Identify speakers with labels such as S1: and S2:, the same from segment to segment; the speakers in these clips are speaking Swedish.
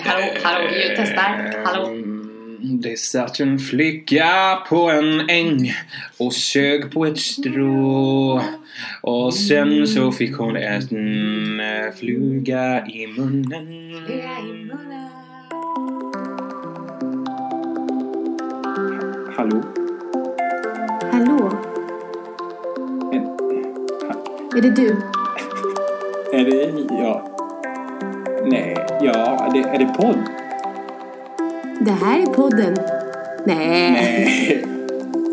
S1: hallå, hallå, ljudtestar. Hallå.
S2: Eh, mm, Det satt en flicka på en äng och sög på ett strå. Och sen så fick hon en eh, fluga i munnen. Hallå?
S3: Hallå, är det du?
S2: Är det... Ja. Nej, ja, det, är det podd?
S3: Det här är podden. Nej.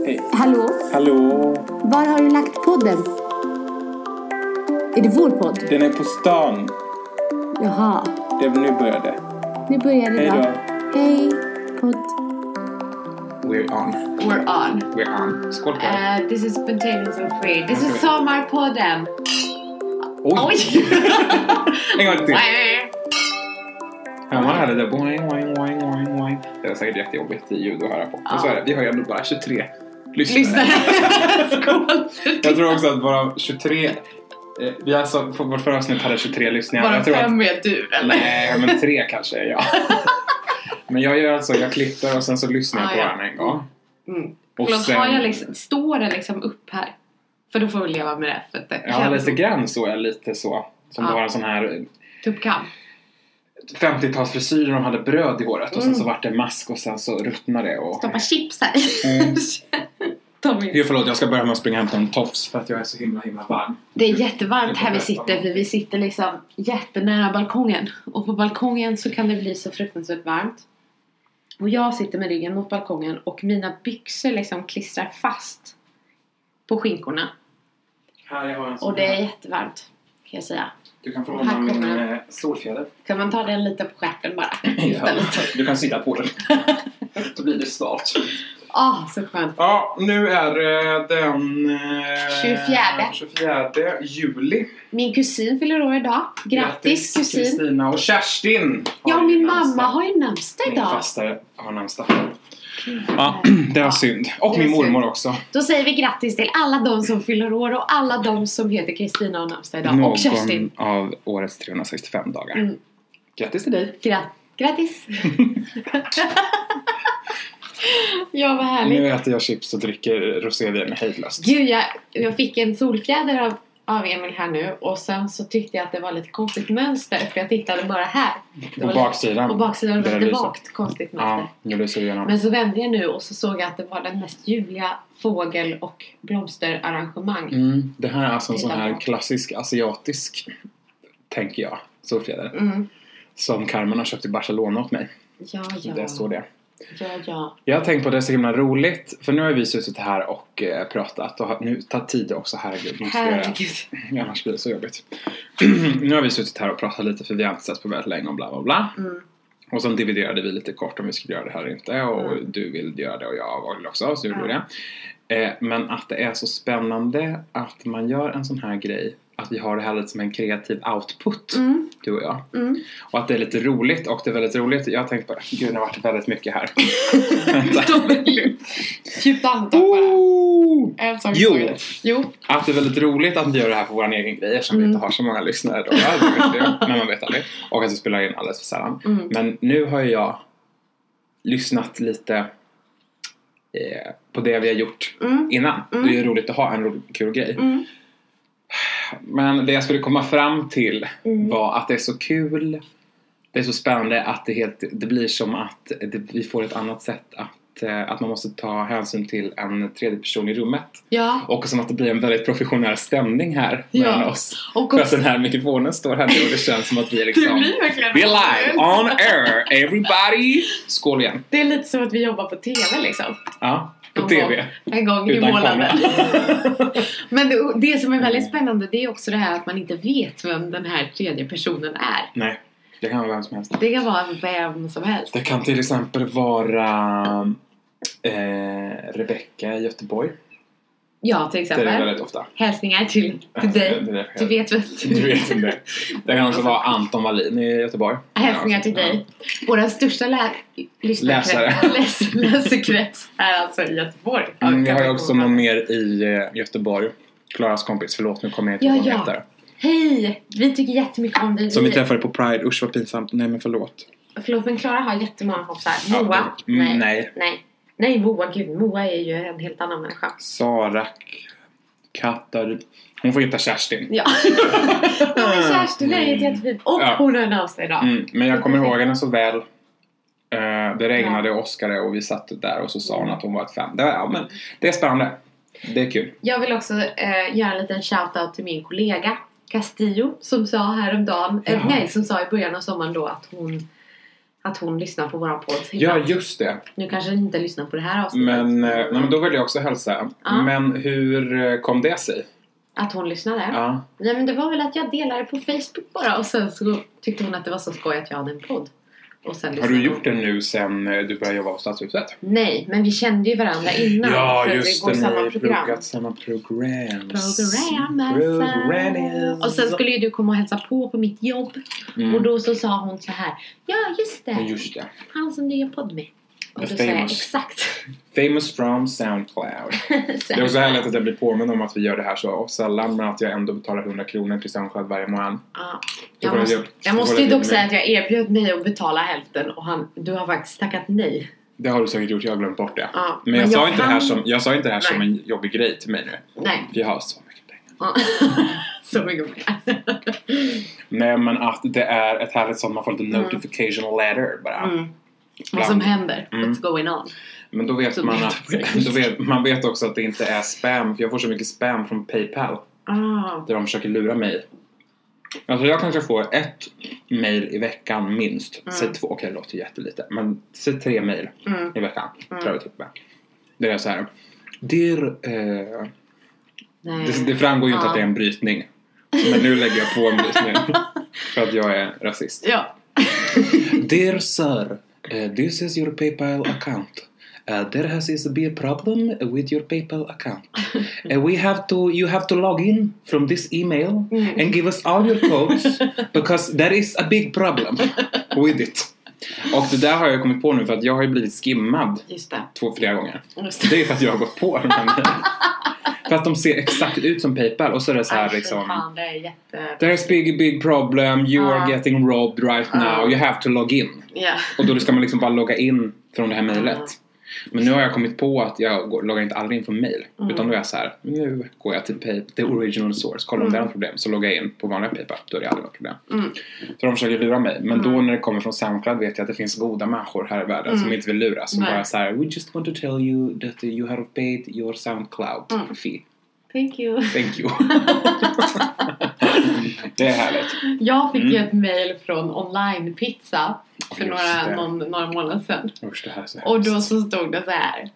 S2: Nej.
S3: Hallå,
S2: Hallå?
S3: var har du lagt podden? Är det vår podd?
S2: Den är på stan.
S3: Jaha,
S2: Det, nu börjar det.
S3: nu börjar det
S2: Hej då.
S3: Hej, podd.
S2: We're on.
S1: We're on.
S2: We're on. Skål på er.
S1: Uh, this is spontaneous and free. This is Sommarpodden. Eh, Oj!
S2: Oj! En gång till.
S1: Nej.
S2: Hör man det där? Boing, boing, boing, boing, boing. Det var säkert jättejobbigt ljud att höra på. Men så är det. Vi har ju ändå bara 23 lyssnare.
S1: Lyssna. Skål!
S2: Jag tror också att bara 23... eh, Vi har alltså, för- vårt förra avsnitt hade 23 lyssningar.
S1: Bara
S2: jag tror att,
S1: fem är du, eller?
S2: Nej, men tre kanske är jag. Men jag gör alltså, jag klipper och sen så lyssnar jag
S1: Ah,
S2: på
S1: ja.
S2: den en gång.
S1: Mm.
S2: Och
S1: Förlåt,
S2: sen-
S1: har jag liksom, står det liksom upp här? För då får vi leva med det. För att det
S2: Ja, lite grann så är lite så. Som
S1: Ja.
S2: det var en sån här
S1: Tuppkam.
S2: 50-talsfrisyr där de hade bröd i håret och sen
S1: Mm.
S2: så vart det mask och sen så ruttnade det och...
S1: Stoppa chips här.
S2: Mm.
S1: Tommy.
S2: Jo, förlåt, jag ska börja med att springa och hämta en tofs för att jag är så himla himla varm.
S1: Det är jättevarmt här vi sitter för vi sitter liksom jättenära balkongen. Och på balkongen så kan det bli så fruktansvärt varmt. Och jag sitter med ryggen mot balkongen och mina byxor liksom klistrar fast på skinkorna.
S2: Här, jag har en sån
S1: Och det är
S2: här.
S1: jättevarmt kan jag säga.
S2: Du kan få
S1: här
S2: låna min
S1: kommer den.
S2: eh, solfjäder.
S1: Kan man ta den lite på stjärten bara?
S2: Ja, du kan sitta på den. Då blir det svalt.
S1: Ah, så skönt.
S2: Ja, nu är det den... eh,
S1: 24.
S2: 24 juli.
S1: Min kusin fyller år idag. Grattis kusin!
S2: Kristina och Kerstin! har
S1: Ja,
S2: ju
S1: min
S2: namnsdag.
S1: mamma har ju namnsdag
S2: Min
S1: idag.
S2: fastare har namnsdag. Ja, det var synd. Och
S1: Det
S2: min
S1: var synd.
S2: mormor också.
S1: Då säger vi grattis till alla de som fyller år och alla de som heter Kristina och namnsdag idag.
S2: Någon
S1: Och Kerstin.
S2: av årets 365 dagar.
S1: Mm.
S2: Grattis till dig!
S1: Gra- grattis! ja, vad härligt.
S2: Nu äter jag chips och dricker rosévin hejdlöst.
S1: Gud, jag, jag fick en solfjäder av, av Emil här nu och sen så tyckte jag att det var lite konstigt mönster för jag tittade bara här. Det
S2: På
S1: var lite-
S2: baksidan.
S1: På baksidan var
S2: Där
S1: det lite
S2: lyser.
S1: vagt konstigt mönster.
S2: Ja, nu lyser det igenom.
S1: Men så vände jag nu och så såg jag att det var den mest ljuvliga fågel och blomsterarrangemang.
S2: Mm, det här är alltså en sån
S1: Titta
S2: här
S1: på.
S2: klassisk asiatisk, tänker jag, solfjäder.
S1: Mm.
S2: Som Carmen har köpt i Barcelona åt mig.
S1: Ja, ja.
S2: Där står det.
S1: Ja, ja.
S2: Jag har tänkt på det så himla roligt, för nu har vi suttit här och eh, pratat och har- nu tar tid också, herregud. Nu ska jag,
S1: Herregud.
S2: Ja, annars blir det så jobbigt. nu har vi suttit här och pratat lite för vi har inte setts på väldigt länge och bla bla bla.
S1: Mm.
S2: Och sen dividerade vi lite kort om vi skulle göra det här eller inte och du vill göra det och jag vill också så gjorde vi
S1: Ja.
S2: det. Eh, men att det är så spännande att man gör en sån här grej att vi har det här lite som en kreativ output,
S1: Mm,
S2: du och jag.
S1: mm.
S2: Och att det är lite roligt och det är väldigt roligt. Jag har tänkt på det. Gud, det har varit väldigt mycket här. Vänta.
S1: Djupt andetag bara.
S2: Oh!
S1: En sak
S2: Jo.
S1: i taget. Jo.
S2: Att det är väldigt roligt att vi gör det här för vår egen grej eftersom vi
S1: Mm.
S2: inte har så många lyssnare då. Ja, det vet jag, Men man vet aldrig. Och att vi spelar in alldeles för sällan.
S1: Mm.
S2: Men nu har ju jag lyssnat lite eh, på det vi har gjort
S1: Mm.
S2: innan.
S1: Mm.
S2: Det är ju roligt att ha en rolig, kul grej.
S1: Mm.
S2: Men det jag skulle komma fram till
S1: Mm.
S2: var att det är så kul. Det är så spännande att det, helt, det blir som att det, vi får ett annat sätt att, eh, att man måste ta hänsyn till en tredje person i rummet.
S1: Ja.
S2: Och som att det blir en väldigt professionell stämning här
S1: Ja.
S2: mellan oss.
S1: Och
S2: För att
S1: också,
S2: den här mikrofonen står här nu och det känns som att vi är liksom...
S1: verkligen
S2: Vi är live, on air, everybody! Skål igen!
S1: Det är lite som att vi jobbar på TV liksom.
S2: Ja, på
S1: En
S2: TV.
S1: gång- En gång i
S2: Utan
S1: månaden.
S2: kamera.
S1: Men det, det som är väldigt
S2: Mm.
S1: spännande det är också det här att man inte vet vem den här tredje personen är.
S2: Nej, det kan vara vem som helst.
S1: Det kan vara vem som helst.
S2: Det kan till exempel vara eh, Rebecka i Göteborg.
S1: Ja, till
S2: Det är det
S1: exempel.
S2: väldigt ofta.
S1: Hälsningar till, till dig.
S2: Det är det.
S1: Du vet vem
S2: Du vet vem det är. Det kan också vara Anton Wallin i Göteborg.
S1: Hälsningar till
S2: Ja.
S1: dig. Våra största lä- lyssnarkrets-
S2: Läsare.
S1: läs- läsekrets är alltså i Göteborg.
S2: Mm, vi har ju också någon mer i eh, Göteborg. Klaras kompis, förlåt nu kommer jag inte
S1: Ja,
S2: ihåg vad hon
S1: ja.
S2: heter.
S1: Hej! Vi tycker jättemycket om dig.
S2: Som vi
S1: vi...
S2: träffade på Pride. Usch vad pinsamt. Nej men förlåt.
S1: Förlåt men Klara har jättemånga kompisar.
S2: Ja,
S1: Moa?
S2: det- mm,
S1: Nej.
S2: nej.
S1: Nej. Nej Moa, gud. Moa är ju en helt annan människa.
S2: Sara Katar. Hon får heta Kerstin.
S1: Ja. Men Kerstin är ju ett jättefint. Och
S2: Ja.
S1: hon hörde av sig idag.
S2: Mm, men jag kommer ihåg henne så väl. Eh, det regnade och åskade och vi satt där och så sa hon att hon var ett fan. Det, var, ja, men det är spännande. Det är kul.
S1: Jag vill också eh, göra en liten shoutout till min kollega Castillo som sa häromdagen, eh,
S2: Jaha.
S1: nej som sa i början av sommaren då att hon att hon lyssnar på våran podd.
S2: Ja, just det.
S1: Nu kanske den inte lyssnar på det här avsnittet.
S2: Men, eh, nej, men då vill jag också hälsa.
S1: Ja.
S2: Men hur eh, kom det sig?
S1: Att hon lyssnade?
S2: Ja.
S1: Nej men det var väl att jag delade på Facebook bara och sen så tyckte hon att det var så skoj att jag hade en podd. Och sen
S2: Har
S1: lyssnade
S2: du
S1: hon.
S2: gjort det nu sen eh, du började jobba på Stadshuset?
S1: Nej, men vi kände ju varandra innan. för att vi går
S2: ni har
S1: samma
S2: ju
S1: program.
S2: pluggat samma program.
S1: Programmet. Och sen skulle ju du komma och hälsa på på mitt jobb.
S2: Mm.
S1: Och då så sa hon så här. Ja, just det.
S2: Ja, just det.
S1: Han som du gör podd med. Och då
S2: The
S1: sa jag
S2: famous.
S1: exakt.
S2: Famous from Soundcloud.
S1: Så-
S2: Det är också härligt att jag blir påmind om att vi gör det här så sällan men att jag ändå betalar 100 kronor till Soundcloud varje månad.
S1: Ja.
S2: Du
S1: Jag
S2: får
S1: måste,
S2: lägga upp-
S1: jag
S2: du får
S1: måste
S2: lägga
S1: ju dock
S2: upp mig.
S1: säga att jag erbjöd mig att betala hälften och han, du har faktiskt tackat nej.
S2: Det har du säkert gjort, jag har glömt bort det.
S1: Ja,
S2: Men,
S1: men jag
S2: jag, sa inte det här
S1: kan-
S2: som, jag sa inte det här som
S1: Nej.
S2: en jobbig grej till mig nu.
S1: Nej.
S2: Vi har så mycket pengar.
S1: Ja. Så mycket pengar.
S2: Nej men att det är ett härligt sånt, man får lite notification letter bara.
S1: Mm. Vad
S2: Bland-
S1: som händer.
S2: Mm.
S1: What's going on.
S2: Men då vet
S1: Så
S2: man
S1: blir det
S2: att,
S1: på engelska.
S2: då vet, man vet också att det inte är spam för jag får så mycket spam från Paypal.
S1: Ah.
S2: där de försöker lura mig. Alltså jag kanske får ett mail i veckan minst. Säg två, okej det låter jättelite. Men säg tre mail
S1: Mm.
S2: i veckan. Tror jag vi typ med. Det är så här. Dear, eh,
S1: Nej.
S2: det, det framgår ju inte
S1: Ja.
S2: att det är en brytning. Men nu lägger jag på en brytning. för att jag är rasist.
S1: Ja.
S2: Dear sir, eh, this is your PayPal account. Uh, there has is be a problem with your PayPal account. Uh, we have to, you have to log in from this email
S1: Mm.
S2: and give us all your codes because there is a big problem with it. Och det där har jag kommit på nu för att jag har ju blivit skimmad
S1: Just det.
S2: två, flera gånger.
S1: Just
S2: Det är för att jag har gått på de här mejlen. För att de ser exakt ut som Paypal och så är det så här
S1: Aj, fy
S2: liksom...
S1: Fan, det är jätte...
S2: There's big, big problem. You
S1: Ah.
S2: are getting robbed right now.
S1: Ah.
S2: You have to log in.
S1: Ja.
S2: Och då ska man liksom bara logga in från det här mejlet.
S1: Ah.
S2: Men nu har jag kommit på att jag går, loggar inte aldrig in från mail.
S1: Mm.
S2: Utan då är jag så här. nu går jag till pay, the original source. Kollar om det är något problem. Så loggar jag in på vanliga Paypal. Då är det aldrig något problem.
S1: Mm.
S2: Så de försöker lura mig. Men då när det kommer från Soundcloud vet jag att det finns goda människor här i världen som inte vill luras. Som
S1: Mm. Nej.
S2: bara så här. We just want to tell you that you have paid your Soundcloud
S1: Mm.
S2: fee.
S1: Thank you.
S2: Thank you. det är härligt.
S1: Jag fick ju ett mail från Online Pizza för
S2: Mm. Just det.
S1: några, någon, några månader sedan.
S2: Usch, det här är så
S1: Och
S2: hemskt.
S1: då så stod det så här.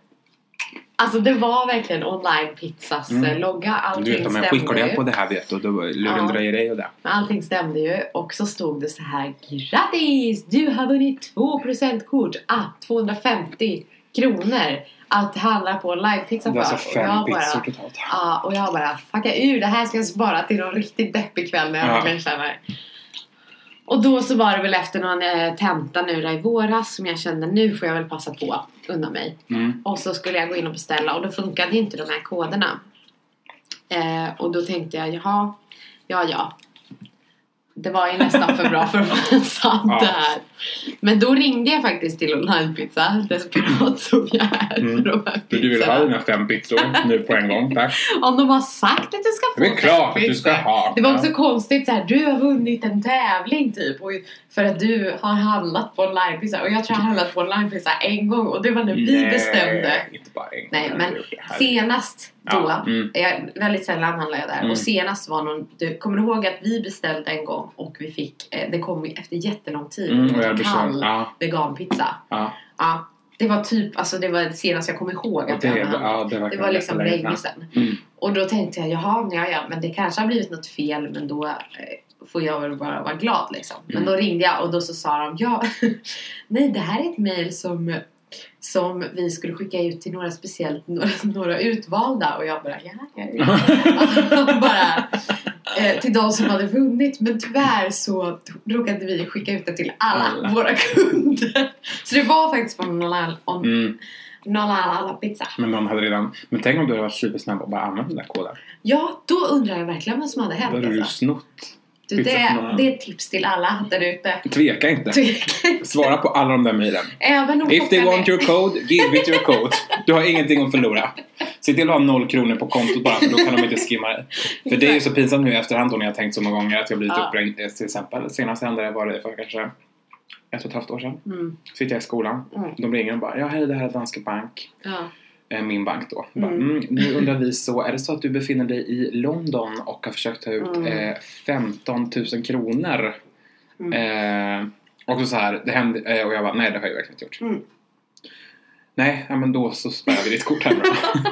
S1: Alltså det var verkligen Online Pizzas
S2: Mm.
S1: eh, logga.
S2: Du
S1: Allting
S2: vet om jag skickar
S1: stämde
S2: det
S1: ju.
S2: på det här vet du, då lurendrejer dig och det.
S1: Men Allting stämde ju. Och så stod det så här. Grattis! Du har vunnit 2 presentkort. Ah, 250 kronor. Att handla på Online Pizza
S2: Det
S1: för.
S2: är alltså
S1: Och jag
S2: fem
S1: bara-
S2: pizzor totalt.
S1: Ja, och jag bara fucka ur, det här ska jag spara till någon riktigt deppig kväll när jag
S2: Ja.
S1: verkligen känner. Och då så var det väl efter någon eh, tenta nu där i våras som jag kände nu får jag väl passa på att unna mig.
S2: Mm.
S1: Och så skulle jag gå in och beställa och då funkade inte de här koderna. Eh, och då tänkte jag, jaha, ja ja. Det var ju nästan för bra för att vara sant
S2: Ja.
S1: det här. Men då ringde jag faktiskt till Online Pizza, desperat som jag är
S2: Mm.
S1: för de här
S2: Du, du vill ha
S1: pizzorna.
S2: dina fem pizzor nu på en gång, tack.
S1: Om de har sagt att du ska få
S2: Det är klart att du ska ha.
S1: Det var också konstigt så här, du har vunnit en tävling typ och för att du har handlat på onlinepizza och jag tror jag har handlat på onlinepizza en gång och det var när vi
S2: Nej,
S1: bestämde.
S2: inte bara en gång.
S1: Nej
S2: Jag har
S1: men
S2: gjort det här.
S1: senast då,
S2: Ja, mm.
S1: jag, väldigt sällan handlar jag där
S2: Mm.
S1: och senast var någon, du kommer du ihåg att vi beställde en gång och vi fick, eh, det kom ju efter jättelång tid,
S2: Mm, och jag
S1: en
S2: blir
S1: kall
S2: sån, ja,
S1: veganpizza.
S2: ja.
S1: Ja, det var typ, alltså det var senast jag kom ihåg
S2: Och
S1: att
S2: det,
S1: jag hade
S2: ja, det,
S1: det var liksom länge
S2: sedan.
S1: sedan.
S2: Mm.
S1: Och då tänkte jag, jaha, ja, ja, men det kanske har blivit något fel, men då eh, får jag väl bara vara glad liksom.
S2: Mm.
S1: Men då ringde jag och då så sa de, ja, nej det här är ett mejl som, som vi skulle skicka ut till några speciellt, några, några utvalda. Och jag bara, ja, ja, ja. bara, eh, till de som hade vunnit. Men tyvärr så råkade vi skicka ut det till alla,
S2: Alla.
S1: våra kunder. Så det var faktiskt från någon, on,
S2: Mm.
S4: Nolala pizza.
S2: Men någon hade redan... Men tänk om du hade varit supersnabb och bara använt den där koden.
S4: Ja, då undrar jag verkligen vad som hade
S2: Då
S4: hänt.
S2: hade du
S4: alltså.
S2: snott.
S4: du,
S2: pizza från någon
S4: det,
S2: annan.
S4: det är ett tips till alla där ute.
S2: Tveka inte. Svara på alla de där mejlen.
S4: Även om
S2: If they
S4: klockan
S2: want
S4: är-
S2: your code, give it your code. Du har ingenting att förlora. Se till att ha noll kronor på kontot bara för då kan de inte skimma det. För det är ju så pinsamt nu i efterhand då när jag har tänkt så många gånger att jag blivit
S1: Ja.
S2: uppringd. Eh, Till exempel senast hände det var det för kanske ett och ett halvt år sedan.
S1: Mm.
S2: Sitter jag i skolan.
S1: Mm.
S2: De ringer och bara ja hej det här är Danske Bank.
S1: Ja.
S2: Eh, Min bank då. Bara,
S1: Mm.
S2: mm, nu undrar vi så, är det så att du befinner dig i London och har försökt ta ut
S1: Mm.
S2: eh, 15 000 kronor?
S1: Mm.
S2: Eh, och så, så här, det hände, eh, och jag bara, nej det har jag verkligen inte gjort.
S1: Mm.
S2: Nej, ja, men då så spär vi ditt kort här nu då.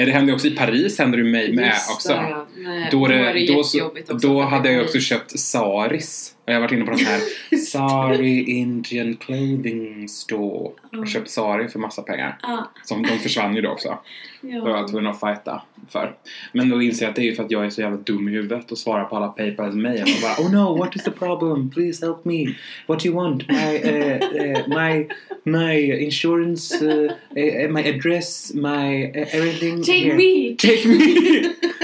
S2: Eh, Det hände ju också i Paris, hände det ju mig med
S1: Just
S2: också.
S1: det, ja. Eh, Nej,
S2: Då, det, då, så,
S1: jättejobbigt också
S2: då
S1: för att
S2: hade
S1: det
S2: jag
S1: blir-
S2: också köpt Saris. Och jag har varit inne på den här Sari Indian Clothing Store.
S1: Mm.
S2: Och köpt Sari för massa pengar.
S1: Ah,
S2: Som, de försvann ju då också.
S1: ja.
S2: Då var jag tvungen att fighta för. Men då inser jag att det är ju för att jag är så jävla dum i huvudet och svarar på alla Paypals mejl och bara Oh no, what is the problem? Please help me. What do you want? My, eh, eh, my, my insurance, eh, eh, my address, my eh, everything.
S1: Take
S2: here."
S1: me!
S2: Take me!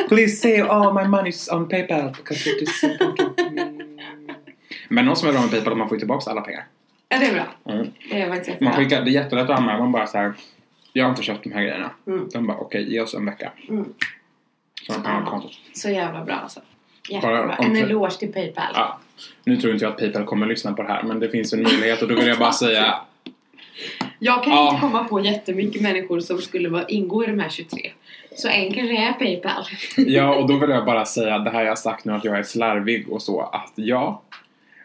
S2: Please save all my money on Paypal because it is important. Men någon som är bra med Paypal, man får ju tillbaka alla pengar.
S1: Ja, det är bra.
S2: Mm.
S1: Det är faktiskt
S2: Man
S1: jättebra.
S2: skickar, det är jättelätt att anmäla. Man bara så här. Jag har inte köpt de här grejerna.
S1: Mm.
S2: De bara okej, ge oss en vecka.
S1: Mm.
S2: Så man kan ha kontot.
S1: Så jävla bra alltså.
S2: Bara
S1: Jättebra.
S2: om-
S1: En eloge till Paypal.
S2: Ja. Nu tror inte jag att Paypal kommer att lyssna på det här men det finns en möjlighet och då vill jag bara säga
S1: Jag kan
S2: Ja.
S1: inte komma på jättemycket människor som skulle vara, ingå i de här 23. Så en kanske är Paypal.
S2: Ja och då vill jag bara säga det här jag har sagt nu att jag är slarvig och så att ja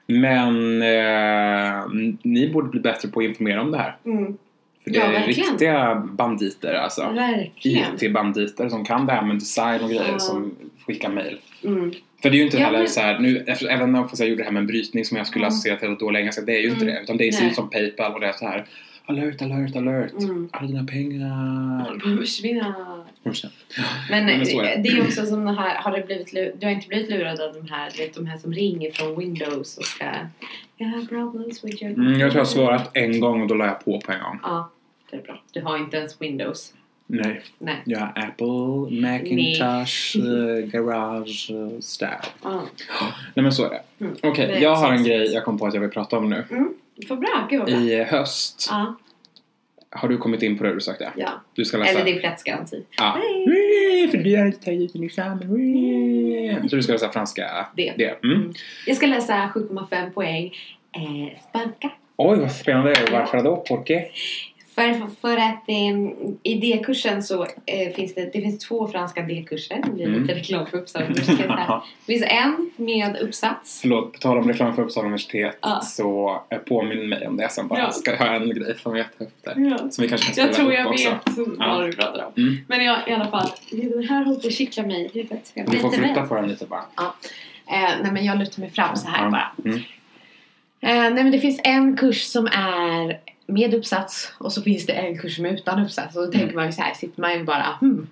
S2: Men eh, ni borde bli bättre på att informera om det här
S1: Mm.
S2: För det
S1: Ja,
S2: är
S1: verkligen.
S2: riktiga banditer alltså
S1: Verkligen.
S2: IT-banditer som kan det här med design och grejer
S1: Ja.
S2: som skickar mail
S1: Mm.
S2: För det är ju inte
S1: Ja,
S2: heller
S1: men-
S2: så här, nu, efter, även om jag gjorde det här med en brytning som jag skulle
S1: Mm.
S2: associera till att då länge sedan, det är ju inte
S1: Mm.
S2: det. Utan det ser
S1: Nej.
S2: ut som Paypal och det är så här alert, alert, alert.
S1: Mm.
S2: Alla dina pengar.
S1: De behöver försvinna. Men,
S2: Men så är det.
S1: det är också som det här, har det blivit, lu- du har inte blivit lurad av de här, du vet, de här som ringer från Windows och ska... Jag har problems with your...
S2: Mm, jag tror jag har svarat en gång och då la jag på på en gång.
S1: Ja, det är bra. Du har inte ens Windows.
S2: Nej.
S1: Nej.
S2: Jag har Apple, Macintosh, eh, Garage, eh, Stab.
S1: Ja.
S2: Nej men så är det.
S1: Mm.
S2: Okej,
S1: Nej,
S2: jag har en
S1: precis.
S2: grej jag kom på att jag vill prata om nu.
S1: För bra, gud vad bra.
S2: I höst
S1: Ja,
S2: har du kommit in på det du sökte.
S1: ja.
S2: Du ska läsa.
S1: Eller din platsgaranti.
S2: Ja.
S1: Hej!
S2: Wee, För du har inte tagit din examen. Wee. Så du ska läsa franska
S1: Det.
S2: Mm.
S1: Mm. Jag ska läsa 7,5 poäng eh, spanska.
S2: Oj, vad spännande. Varför då? Porque?
S1: För, för att eh, i D-kursen så eh, finns det, det finns två franska D-kurser. Det blir
S2: Mm.
S1: lite reklam för Uppsala universitet här. Det finns en med uppsats.
S2: Förlåt, på tal om reklam för Uppsala universitet
S1: Ja.
S2: så eh, påminn mig om det sen bara.
S1: Ja.
S2: Ska jag ha en grej som jag tar upp där. Som vi kanske kan spela
S1: Jag tror
S2: upp
S1: jag
S2: också.
S1: vet
S2: Ja.
S1: vad du pratar om.
S2: Mm.
S1: Men jag, i alla fall, det här håller på att kittla mig i huvudet. Jag
S2: Du får
S1: biter mig.
S2: flytta på den lite bara.
S1: Eh, nej men jag lutar mig fram så här
S2: Ja.
S1: bara.
S2: Mm.
S1: Eh, nej men det finns en kurs som är med uppsats och så finns det en kurs som är utan uppsats. Och då
S2: Mm.
S1: tänker man ju så här, sitter man ju bara hmm,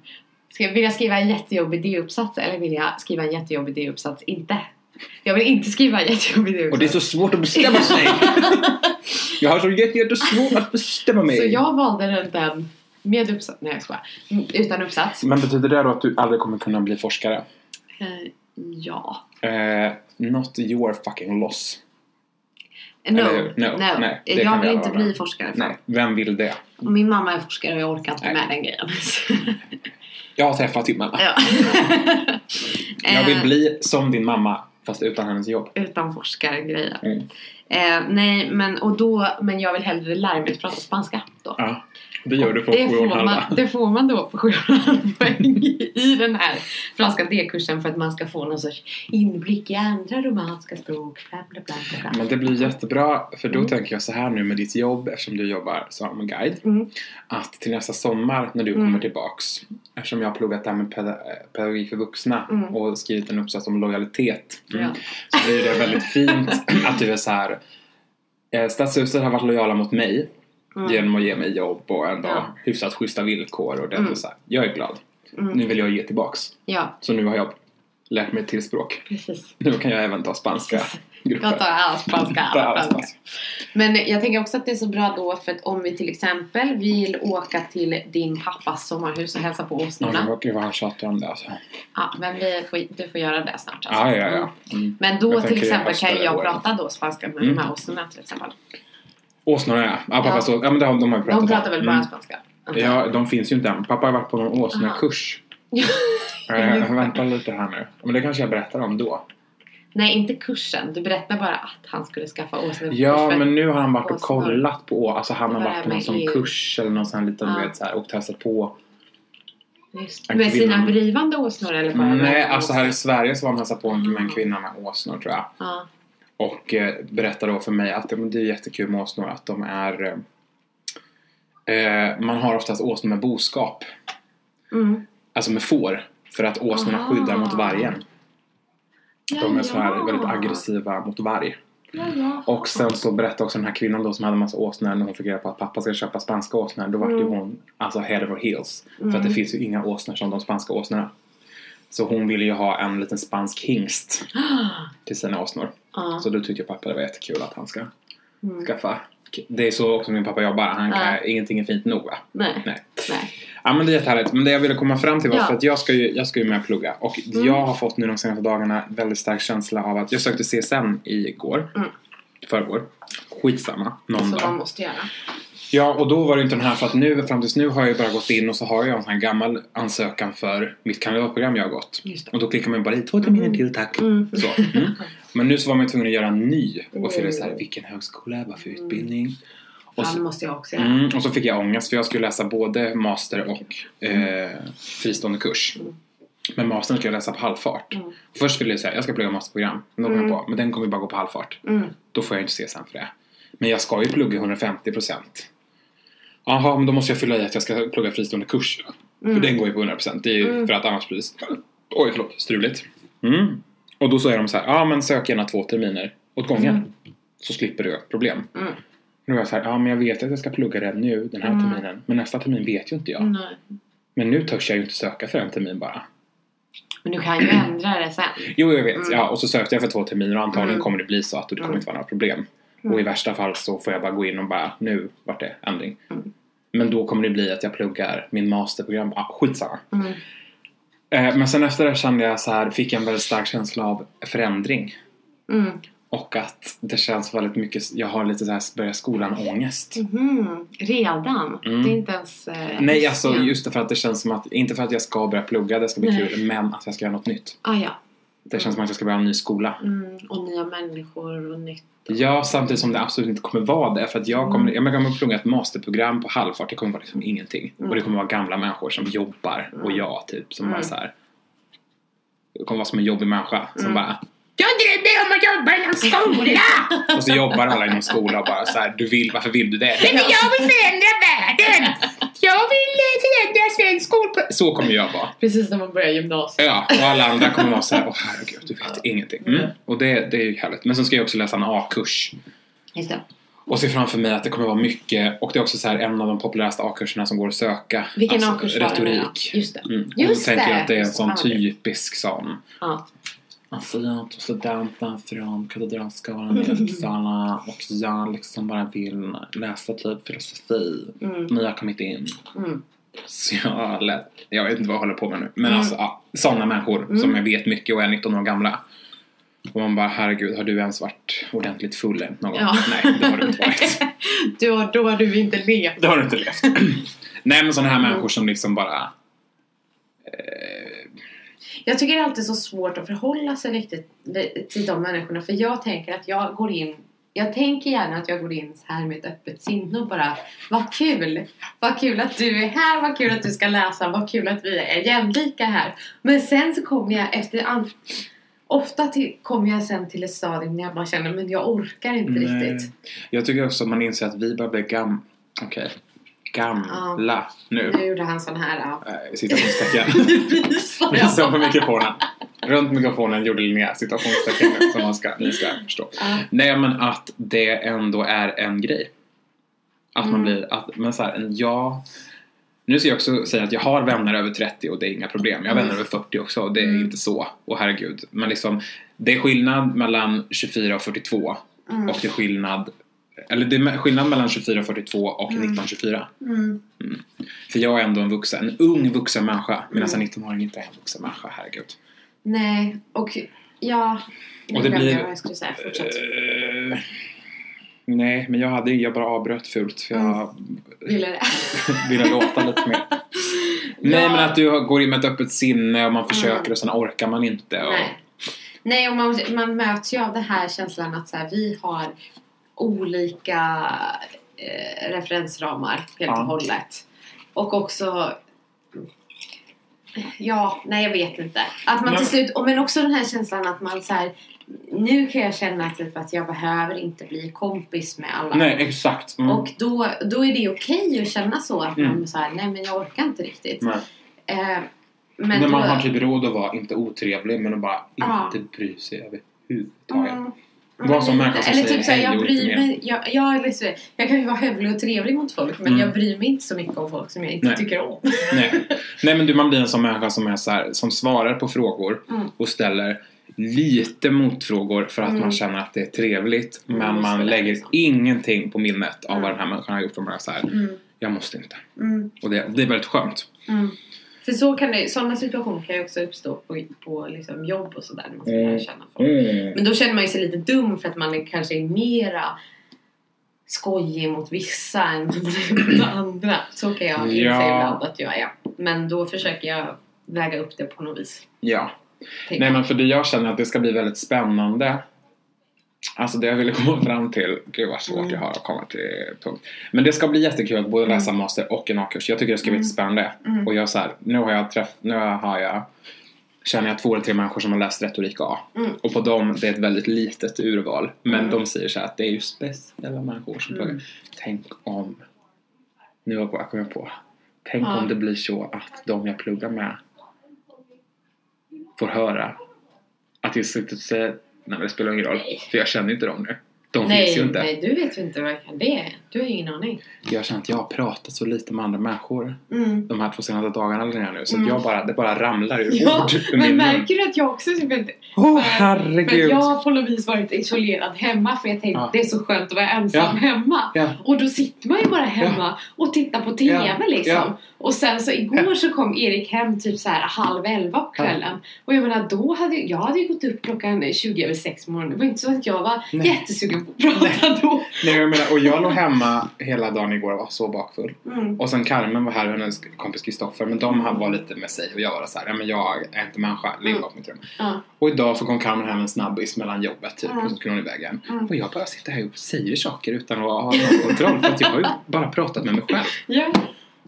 S1: ska, vill jag skriva en jättejobbig D-uppsats eller vill jag skriva en jättejobbig D-uppsats inte? Jag vill inte skriva en jättejobbig D-uppsats.
S2: Och det är så svårt att bestämma sig! jag har så jätte- jättesvårt att bestämma mig!
S1: Så jag valde den, den med uppsats, nej jag skojar, Mm, utan uppsats.
S2: Men betyder det då att du aldrig kommer kunna bli forskare? Mm.
S1: Eh, ja.
S2: Eh, not your fucking loss.
S1: No,
S2: Eller hur?
S1: no,
S2: No, nej, det kan
S1: jag
S2: vi
S1: vill
S2: alla
S1: inte
S2: vara.
S1: bli forskare. fan.
S2: Nej, vem vill det?
S1: Och min mamma är forskare och jag orkar inte
S2: Nej.
S1: med den grejen.
S2: Jag har träffat din mamma.
S1: Ja.
S2: Jag vill
S1: Eh,
S2: bli som din mamma, fast utan hennes jobb.
S1: Utan forskargrejer.
S2: Mm.
S1: Eh, nej, men, och då, men jag vill hellre lära mig att prata spanska då.
S2: Ja, det gör du på
S1: Det
S2: sju och en
S1: får,
S2: halv,
S1: man,
S2: va?
S1: det får man då på 7,5 poäng i- i den här franska D-kursen för att man ska få någon sorts inblick i andra romanska språk. Bla, bla, bla, bla, bla.
S2: Men det blir jättebra, för då
S1: Mm.
S2: tänker jag så här nu med ditt jobb, eftersom du jobbar som guide.
S1: Mm.
S2: Att till nästa sommar när du
S1: Mm.
S2: kommer tillbaks, eftersom jag har pluggat det här med peda- eh, pedagogik för vuxna
S1: Mm.
S2: och skrivit en uppsats om lojalitet. Mm.
S1: Ja.
S2: Så blir det väldigt fint att du är så här. eh, Stadshuset har varit lojala mot mig
S1: Mm.
S2: genom att ge mig jobb och ändå
S1: Ja.
S2: hyfsat schyssta villkor och det
S1: Mm.
S2: är så här, jag är glad.
S1: Mm.
S2: Nu vill jag ge tillbaks.
S1: Ja,
S2: Så nu har jag lärt mig ett till språk.
S1: precis.
S2: Nu kan jag även ta spanska.
S5: Gott och allspanska, allspanska. Men jag tänker också att det är så bra då för att om vi till exempel vill åka till din pappas sommarhus och hälsa på åsnorna.
S2: Gud vad han tjatar om det alltså.
S5: Ja, men vi får, du får göra det snart. Alltså.
S2: Ja, ja, ja. Mm.
S5: Men då
S2: Jag
S5: till
S2: tänker
S5: exempel
S2: nästa
S5: kan ju jag
S2: år.
S5: prata då spanska med
S2: Mm.
S5: de här åsnorna till exempel.
S2: Åsnorna ja. Ja, pappa
S5: Ja.
S2: Så, ja men det har, de har ju pratat
S5: De
S2: om.
S5: pratar väl bara
S2: Mm.
S5: spanska?
S2: Ja, de finns ju inte än. Pappa har varit på någon åsnekurs. Eh, vänta lite här nu. Men det kanske jag berättar om då.
S5: Nej, inte kursen. Du berättade bara att han skulle skaffa åsnor.
S2: Ja, men nu har han varit och
S5: åsnor.
S2: kollat på å- Alltså han har
S5: Det var
S2: varit
S5: det
S2: på någon
S5: med
S2: sån
S5: EU.
S2: kurs eller någon sån här liten, du
S5: Ja.
S2: vet så här, och testat på.
S5: Just.
S2: en
S5: Med sina
S2: kvinna.
S5: blivande åsnor eller bara
S2: Nej,
S5: med
S2: alltså
S5: åsnor?
S2: här i Sverige så var han hälsade på en, med en
S5: Mm.
S2: kvinna med åsnor tror jag.
S5: Ja.
S2: Och eh, berättade då för mig att eh, men det är jättekul med åsnor att de är... eh, Eh, man har oftast åsnor med boskap.
S5: Mm.
S2: Alltså med får. För att åsnorna
S5: Aha.
S2: skyddar mot vargen. De är så här väldigt aggressiva mot varg.
S5: Ja, ja.
S2: Och sen så berättade också den här kvinnan då som hade en massa åsnor när hon fick reda på att pappa ska köpa spanska åsnor. Då vart ju
S5: Mm.
S2: hon alltså head over heels. För att
S5: Mm.
S2: det finns ju inga åsnor som de spanska åsnorna. Så hon ville ju ha en liten spansk hingst
S5: Ah.
S2: till sina åsnor.
S5: Ja.
S2: Så då tyckte pappa det var jättekul att han ska
S5: Mm.
S2: skaffa. Det är så också min pappa jobbar. Han kan,
S5: Ja.
S2: Ingenting är fint nog va?
S5: Nej.
S2: Nej.
S5: Nej.
S2: Ja men det är jättehärligt. Men det jag ville komma fram till var
S5: Ja.
S2: för att jag ska ju, jag ska ju med och plugga. Och
S5: Mm.
S2: jag har fått nu de senaste dagarna väldigt stark känsla av att jag sökte CSN igår.
S5: Mm.
S2: Förrgår. Skitsamma. Någon
S5: Som
S2: dag.
S5: man måste göra.
S2: Ja och då var det inte den här för att nu fram tills nu har jag ju bara gått in och så har jag en sån här gammal ansökan för mitt kandidatprogram jag har gått.
S5: Just
S2: Och då klickar man bara i två terminer till tack.
S5: Mm.
S2: Så. Mm. Men nu så var man ju tvungen att göra en ny och fylla i så här,
S5: Mm.
S2: vilken högskola, vad för
S5: Mm.
S2: utbildning. Och
S5: Fan,
S2: så,
S5: det måste jag också göra.
S2: mm, och så fick jag ångest för jag skulle läsa både master och eh, fristående kurs.
S5: Mm.
S2: Men mastern skulle jag läsa på halvfart.
S5: Mm.
S2: Först ville jag säga jag ska plugga masterprogram. Men då kom
S5: Mm.
S2: jag på, men den kommer ju bara gå på halvfart.
S5: Mm.
S2: Då får jag inte se sen för det. Men jag ska ju plugga 150%. Jaha, men då måste jag fylla i att jag ska plugga fristående kurs.
S5: Mm.
S2: För den går ju på 100%. Det är ju
S5: Mm.
S2: för att annars blir det... så- Oj, förlåt. Struligt. Mm. Och då säger de så här, ja men sök gärna två terminer åt gången. Så slipper du problem.
S5: Mm.
S2: Nu är jag så här, ja men jag vet att jag ska plugga det nu, den här
S5: Mm.
S2: terminen. Men nästa termin vet ju inte jag.
S5: Nej.
S2: Men nu törs jag ju inte söka för en termin bara.
S5: Men du kan ju ändra det sen.
S2: Jo, jag vet.
S5: Mm.
S2: Ja, och så sökte jag för två terminer och antagligen
S5: Mm.
S2: kommer det bli så att det kommer
S5: Mm.
S2: inte vara några problem.
S5: Mm.
S2: Och i värsta fall så får jag bara gå in och bara, nu vart det ändring.
S5: Mm.
S2: Men då kommer det bli att jag pluggar min masterprogram. Ah, skitsamma.
S5: Mm.
S2: Eh, men sen efter det kände jag så här, fick jag en väldigt stark känsla av förändring.
S5: Mm.
S2: Och att det känns väldigt mycket, jag har lite så här börja skolan-ångest.
S5: Mhm. Redan?
S2: Mm.
S5: Det är inte ens... Eh,
S2: Nej, alltså
S5: ja.
S2: just det för att det känns som att, inte för att jag ska börja plugga, det ska bli
S5: Nej.
S2: kul, men att jag ska göra något nytt.
S5: Ah, ja.
S2: Det känns som att jag ska börja en ny skola.
S5: Mm. Och nya människor och nytt.
S2: Ja, samtidigt som det absolut inte kommer vara det. För att jag kommer,
S5: Mm.
S2: jag kommer plugga ett masterprogram på halvfart, det kommer vara liksom ingenting.
S5: Mm.
S2: Och det kommer vara gamla människor som jobbar, och
S5: Mm.
S2: jag typ, som
S5: Mm.
S2: bara så här. Det kommer vara som en jobbig människa som
S5: Mm.
S2: bara Jag drömde om att jobba inom skola! och så jobbar alla inom skola och bara så här, du vill, varför vill du det? Men jag vill förändra världen! Jag vill eh, förändra svensk skolpro... Så kommer jag vara.
S5: Precis när man börjar gymnasiet.
S2: Ja, och alla andra kommer vara så här, åh herregud, du vet ingenting. Mm.
S5: Mm.
S2: Och det, det är ju härligt. Men sen ska jag också läsa en A-kurs.
S5: Just det.
S2: Och ser framför mig att det kommer vara mycket, och det är också så här en av de populäraste A-kurserna som går att söka.
S5: Vilken
S2: Alltså,
S5: A-kurs var det nu då?
S2: Retorik.
S5: Just det.
S2: Mm. Och
S5: Just
S2: då tänker jag att det är en
S5: det.
S2: sån
S5: Fan, vad kul.
S2: typisk sån.
S5: Ja.
S2: Alltså jag tog studenten från Katedralskolan i Uppsala och jag liksom bara vill läsa typ filosofi.
S5: Mm.
S2: Men jag kom inte in.
S5: Mm.
S2: Så jag lät, jag vet inte vad jag håller på med nu. Men
S5: Mm.
S2: alltså ja, sådana människor
S5: Mm.
S2: som jag vet mycket och är 19 år gamla. Och man bara herregud, har du ens varit ordentligt full än någon gång?
S5: Ja.
S2: Nej, det har du inte varit.
S5: du har, då har du inte levt.
S2: Det har du inte levt. Nej men sådana här människor som liksom bara...
S1: Jag tycker det är alltid så svårt att förhålla sig riktigt vid- till de människorna för jag tänker att jag går in jag tänker gärna att jag går in så här med ett öppet sinne och bara Vad kul! Vad kul att du är här, vad kul att du ska läsa, vad kul att vi är jämlika här. Men sen så kommer jag efter an- Ofta till, kommer jag sen till ett stadium när jag bara känner men jag orkar inte riktigt.
S2: Jag tycker också att man inser att vi börjar bli gam... Okej. Gamla nu.
S1: Nu gjorde han sån här ja.
S2: Äh, Citationstecken.
S1: Visar jag.
S2: Som på mikrofonen. Runt mikrofonen gjorde Linnea citationstecken nu, som man ska, ni ska förstå.
S1: Ja.
S2: Nej men att det ändå är en grej. Att man
S1: Mm.
S2: blir, att, men såhär, jag Nu ska jag också säga att jag har vänner över 30 och det är inga problem. Jag har
S1: Mm.
S2: vänner över 40 också och det är inte så. Och herregud. Men liksom, det är skillnad mellan 24 och 42.
S1: Mm.
S2: Och det är skillnad, eller det är skillnad mellan 24 och 42 och 1924.
S1: Mm.
S2: För jag är ändå en vuxen, en ung vuxen människa. Medan
S1: Mm.
S2: en 19-åring inte är en vuxen människa, herregud.
S1: Nej, och ja... Nu
S2: Och det
S1: glömde
S2: blir-
S1: jag vad jag skulle säga. Fortsätt.
S2: Eh, nej, men jag hade jag bara avbröt fult för
S1: Mm.
S2: jag
S1: Ville det.
S2: ville låta lite mer. Nej, men att du går in med ett öppet sinne och man försöker
S1: Mm.
S2: och sen orkar man inte. Och,
S1: Nej. Nej, och man, man möts ju av den här känslan att så här, vi har olika eh, referensramar helt
S2: Ja.
S1: och hållet. Och också... Ja, nej jag vet inte. Att man
S2: Men-
S1: till slut, och men också den här känslan att man så här, nu kan jag känna typ att jag behöver inte bli kompis med alla.
S2: Nej, exakt. Mm.
S1: Och då, då är det okej att känna så att
S2: Mm.
S1: man så här, nej men jag orkar inte riktigt.
S2: Nej.
S1: Eh, men
S2: När man
S1: då-
S2: har typ råd att vara, inte otrevlig, men att bara
S1: Ja.
S2: inte bry sig överhuvudtaget.
S1: Mm.
S2: Vad
S1: Men
S2: som
S1: lite-
S2: människa som
S1: Eller
S2: säger
S1: typ såhär,
S2: hej
S1: jag
S2: och
S1: bryr
S2: inte mer.
S1: mig. Jag, jag, är liksom, jag kan ju vara hövlig och trevlig mot folk men
S2: Mm.
S1: jag bryr mig inte så mycket om folk som jag inte
S2: Nej.
S1: tycker om.
S2: Nej. Nej, men du, man blir en sån människa som, är så här, som svarar på frågor
S1: Mm.
S2: och ställer lite motfrågor för att
S1: Mm.
S2: man känner att det är trevligt
S1: Mm,
S2: men
S1: så är
S2: man
S1: det
S2: lägger
S1: liksom.
S2: ingenting på minnet av vad
S1: Mm.
S2: den här människan har gjort. Och bara så här,
S1: Mm.
S2: jag måste inte.
S1: Mm.
S2: Och det, det är väldigt skönt.
S1: Mm. För så kan det, sådana situationer kan ju också uppstå på, på liksom jobb och sådär. när Man ska
S2: Mm.
S1: lära känna folk. Men då känner man ju sig lite dum för att man är, kanske är mera skojig mot vissa än mot andra. Så kan jag inse
S2: Ja.
S1: ibland att jag är. Men då försöker jag väga upp det på något vis.
S2: Ja.
S1: tänker
S2: Nej
S1: jag.
S2: men för det jag känner att det ska bli väldigt spännande. Alltså det jag ville komma fram till. Gud vad svårt
S1: Mm.
S2: jag har att komma till punkt. Men det ska bli jättekul att både läsa master och en A-kurs. Jag tycker det ska bli
S1: Mm.
S2: jättespännande.
S1: Mm.
S2: Och jag så här, nu har jag träff, nu har jag känner jag två eller tre människor som har läst retorik A.
S1: Mm.
S2: Och på dem, det är ett väldigt litet urval. Men
S1: Mm.
S2: de säger så här att det är ju speciella människor som pluggar. Tänk om. Nu har jag bara kommit på. Tänk
S1: Ja.
S2: om det blir så att de jag pluggar med får höra att jag sitter och säger nej men det spelar ingen roll.
S1: Nej.
S2: För jag känner inte dem nu. De finns
S1: Nej,
S2: ju inte.
S1: nej, du vet ju inte vad det är. Du har ju ingen aning.
S2: Jag känner att jag har pratat så lite med andra människor
S1: Mm.
S2: de här två senaste dagarna eller nu. Så
S1: Mm.
S2: att jag bara, det bara ramlar ur
S1: Ja,
S2: ord ur
S1: men
S2: min mun.
S1: märker du att jag också typ inte...
S2: Åh oh,
S1: För att
S2: herregud!
S1: jag har på något vis varit isolerad hemma för jag tänkte
S2: Ja.
S1: det är så skönt att vara ensam
S2: Ja.
S1: hemma.
S2: Ja.
S1: Och då sitter man ju bara hemma och tittar på TV
S2: Ja.
S1: liksom.
S2: Ja.
S1: Och sen så igår så kom Erik hem typ så här halv elva på kvällen. Och jag menar då hade ju- jag hade ju gått upp klockan 20 över sex på morgonen. Det var inte så att jag var
S2: Nej.
S1: jättesugen på att prata då.
S2: Nej, jag menar, och jag låg hemma hela dagen igår och var så bakfull.
S1: Mm.
S2: Och sen Carmen var här och hennes kompis Kristoffer men de här var lite med sig och jag var så här, ja men jag är inte människa, ligg
S1: Mm.
S2: bak mitt rum.
S1: Ja.
S2: Och idag så kom Carmen hem en snabbis mellan jobbet typ
S1: Mm.
S2: och så skulle hon iväg igen.
S1: Mm.
S2: Och jag bara sitter här och säger saker utan att ha någon kontroll för att jag har ju bara pratat med mig själv.
S1: Ja.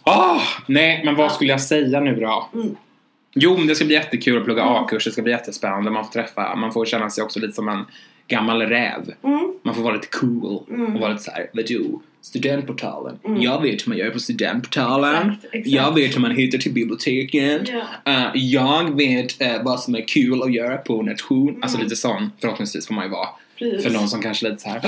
S2: Ah, nej, men vad
S1: Ja.
S2: skulle jag säga nu då?
S1: Mm.
S2: Jo, men det ska bli jättekul att plugga A-kurs, det ska bli jättespännande, man får träffa, man får känna sig också lite som en gammal räv.
S1: Mm.
S2: Man får vara lite cool
S1: Mm.
S2: och vara lite såhär, vadå? Studentportalen.
S1: Mm.
S2: Jag vet hur man gör på studentportalen.
S1: Exakt, exakt.
S2: Jag vet hur man hittar till biblioteket.
S1: Ja.
S2: Eh, jag vet eh, vad som är kul att göra på nation. Alltså lite sån förhoppningsvis får man ju vara.
S1: Mm. Precis.
S2: För någon som kanske är lite såhär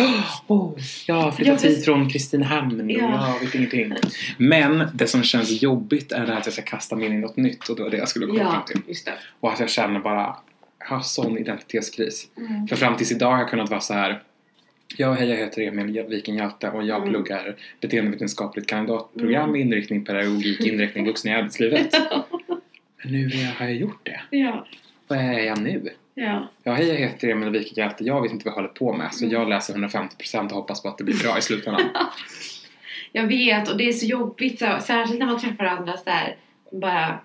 S2: oh, Jag har flyttat
S1: Ja,
S2: hit
S1: precis.
S2: från Kristinehamn och
S1: Ja.
S2: jag vet ingenting. Men det som känns jobbigt är det här att jag ska kasta mig in i något nytt och det var det jag skulle komma
S1: Ja,
S2: fram till.
S1: just det.
S2: Och att jag känner bara Jag har sån identitetskris. För fram tills idag har jag kunnat vara så här. Ja, hej jag heter Emil Vikinghjälte och jag
S1: Mm.
S2: pluggar beteendevetenskapligt kandidatprogram med inriktning pedagogik, inriktning vuxna i arbetslivet. Men nu är jag- har jag gjort det.
S1: Ja,
S2: Vad är jag nu?
S1: ja.
S2: Ja, hej jag heter Emil Wikighjälte. Jag vet inte vad jag håller på med så
S1: Mm.
S2: jag läser 150% och hoppas på att det blir bra i slutändan.
S1: Jag vet och det är så jobbigt så, särskilt när man träffar andra så här, bara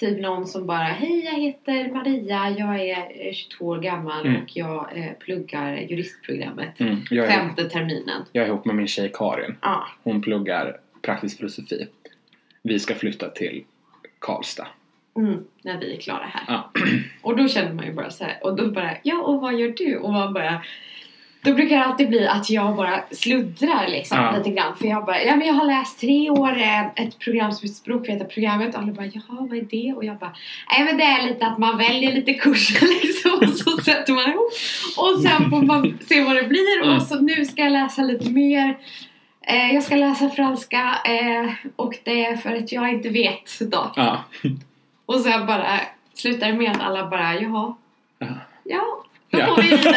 S1: typ någon som bara hej jag heter Maria jag är eh, 22 år gammal
S2: Mm.
S1: och jag eh, pluggar juristprogrammet
S2: Mm. Jag, är,
S1: femte terminen.
S2: jag är ihop med min tjej Karin.
S1: Ja,
S2: Hon pluggar praktisk filosofi. Vi ska flytta till Karlstad.
S1: mm, när vi är klara här.
S2: Ja.
S1: Och då känner man ju bara så här och då bara ja och vad gör du? Och man bara då brukar det alltid bli att jag bara sluddrar liksom
S2: Ja.
S1: lite grann. För jag bara, ja men jag har läst tre år eh, ett program som heter Språkvetarprogrammet. Och alla bara, jaha vad är det? Och jag bara, nej men det är lite att man väljer lite kurser liksom. Och så sätter man ihop. Och sen får man se vad det blir.
S2: Mm.
S1: Och så nu ska jag läsa lite mer Eh, jag ska läsa franska eh, och det är för att jag inte vet dock.
S2: Ja.
S1: Och sen bara slutar det med att alla bara jaha.
S2: Ja.
S1: Ja, då
S2: Ja.
S1: går vi vidare.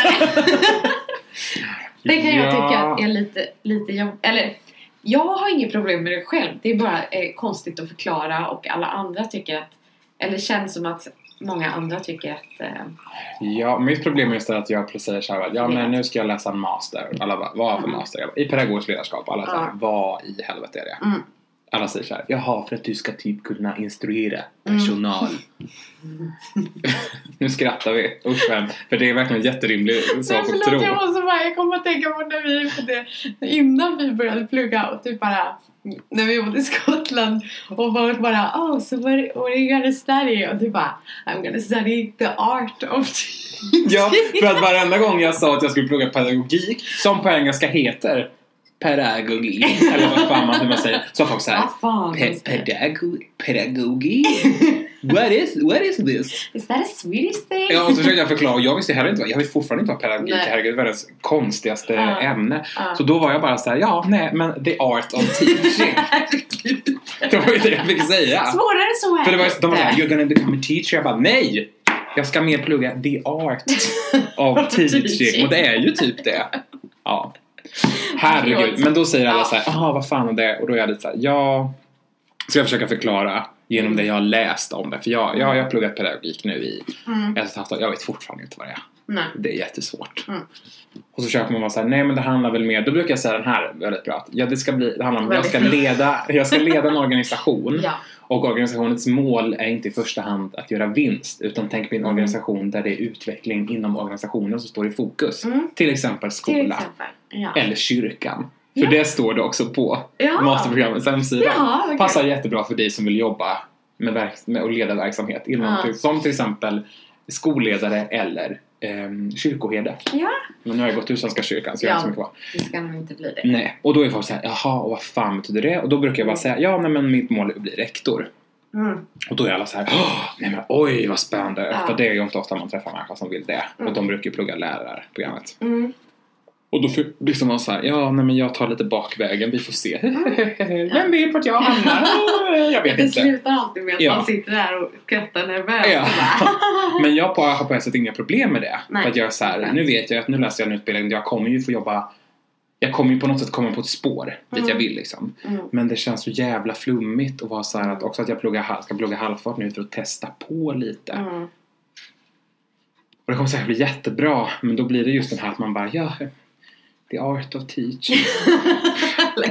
S1: det kan jag tycka är lite, lite jobb... Eller jag har inget problem med det själv. Det är bara eh, konstigt att förklara och alla andra tycker att... Eller känns som att många andra tycker att... Eh,
S2: Ja, mitt problem är istället att jag säger såhär bara, ja men nu ska jag läsa en master. Alla bara, vad för
S1: Mm.
S2: master? Jag bara, I pedagogiskt ledarskap. Alla säger,
S1: Ja.
S2: vad i helvete är det?
S1: Mm.
S2: Alla säger såhär, jaha för att du ska typ kunna instruera
S1: Mm.
S2: personal. nu skrattar vi, usch vem. För det är verkligen en jätterimlig sak att tro.
S1: Förlåt, jag måste bara, jag kommer att tänka på när vi gjorde, innan vi började plugga och typ bara, när vi bodde i Skottland och folk bara, oh so what, what are you gonna study? Och du bara, I'm gonna study the art of
S2: Ja, för att varenda gång jag sa att jag skulle plugga pedagogik, som på engelska heter pedagogik, eller vad fan man, hur man säger, så folk såhär,
S1: Vad fan?
S2: pe- pedago- pedagogik? What is, what is this?
S1: Is that a Swedish thing?
S2: Ja, och så försökte jag förklara, och jag visste heller inte vad, jag visste fortfarande inte vad pedagogik
S1: Nej.
S2: är, herregud, världens konstigaste
S1: Ja.
S2: ämne.
S1: Ja.
S2: Så då var jag bara såhär, ja, nej, men the art of teaching.
S1: Herregud.
S2: det var ju det jag fick säga.
S1: Svårare än så är
S2: För det var, de var såhär,
S1: inte.
S2: you're gonna become a teacher. Jag bara, nej! Jag ska mer plugga the art of teaching. Och det är ju typ det. Ja. Herregud. Men då säger alla
S1: Ja.
S2: så här, aha vad fan är det? Och då är jag lite såhär, ja. Ska jag försöka förklara genom det jag har läst om det. För jag, jag, jag har pluggat pedagogik nu i
S1: Mm.
S2: ett och ett halvt år. Jag vet fortfarande inte vad det är.
S1: Nej.
S2: Det är jättesvårt.
S1: Mm.
S2: Och så försöker man vara såhär, nej men det handlar väl mer, då brukar jag säga den här väldigt bra. att, Ja, det ska bli, det handlar om, jag ska
S1: Väldigt bra.
S2: leda, jag ska leda en organisation.
S1: Ja.
S2: Och organisationens mål är inte i första hand att göra vinst utan tänk
S1: Mm.
S2: på en organisation där det är utveckling inom organisationen som står i fokus.
S1: Mm.
S2: Till exempel skola
S1: Till exempel. Ja.
S2: eller kyrkan. För
S1: Ja.
S2: det står det också på
S1: Ja.
S2: masterprogrammets hemsida.
S1: Jaha, okej.
S2: Passar jättebra för dig som vill jobba med, verk- med och leda verksamhet inom,
S1: Ja.
S2: till- som till exempel skolledare eller ehm, kyrkoherde.
S1: Ja.
S2: Men nu har jag gått ur Svenska kyrkan så jag har
S1: Ja.
S2: inte så mycket kvar.
S1: Det ska nog inte bli det.
S2: Nej, och då är folk såhär, jaha, och vad fan betyder det? Och då brukar jag bara säga, ja nej men mitt mål är att bli rektor.
S1: Mm.
S2: Och då är alla så här, "Åh, nej men oj vad spännande!
S1: Ja.
S2: För det är ju inte ofta man träffar människor som vill det. Och de brukar ju plugga lärarprogrammet.
S1: Mm.
S2: Och då får- blir som någon så här, ja nej men jag tar lite bakvägen, vi får se. Vem vet vart jag hamnar? jag vet
S1: Det
S2: inte.
S1: slutar alltid med att
S2: Ja.
S1: man sitter där och skrattar nervöst.
S2: Ja.
S1: och bara,
S2: Men jag bara har på ett sätt inga problem med det.
S1: Nej.
S2: För att jag är så här, nu vet jag att nu läser jag en utbildning där jag kommer ju få jobba jag kommer ju på något sätt komma på ett spår dit
S1: Mm.
S2: jag vill liksom.
S1: Mm.
S2: Men det känns så jävla flummigt att vara så här att också att jag pluggar, hal- ska plugga halvfart nu för att testa på lite.
S1: Mm.
S2: Och det kommer säkert bli jättebra, men då blir det just den här att man bara ja, the art of teaching.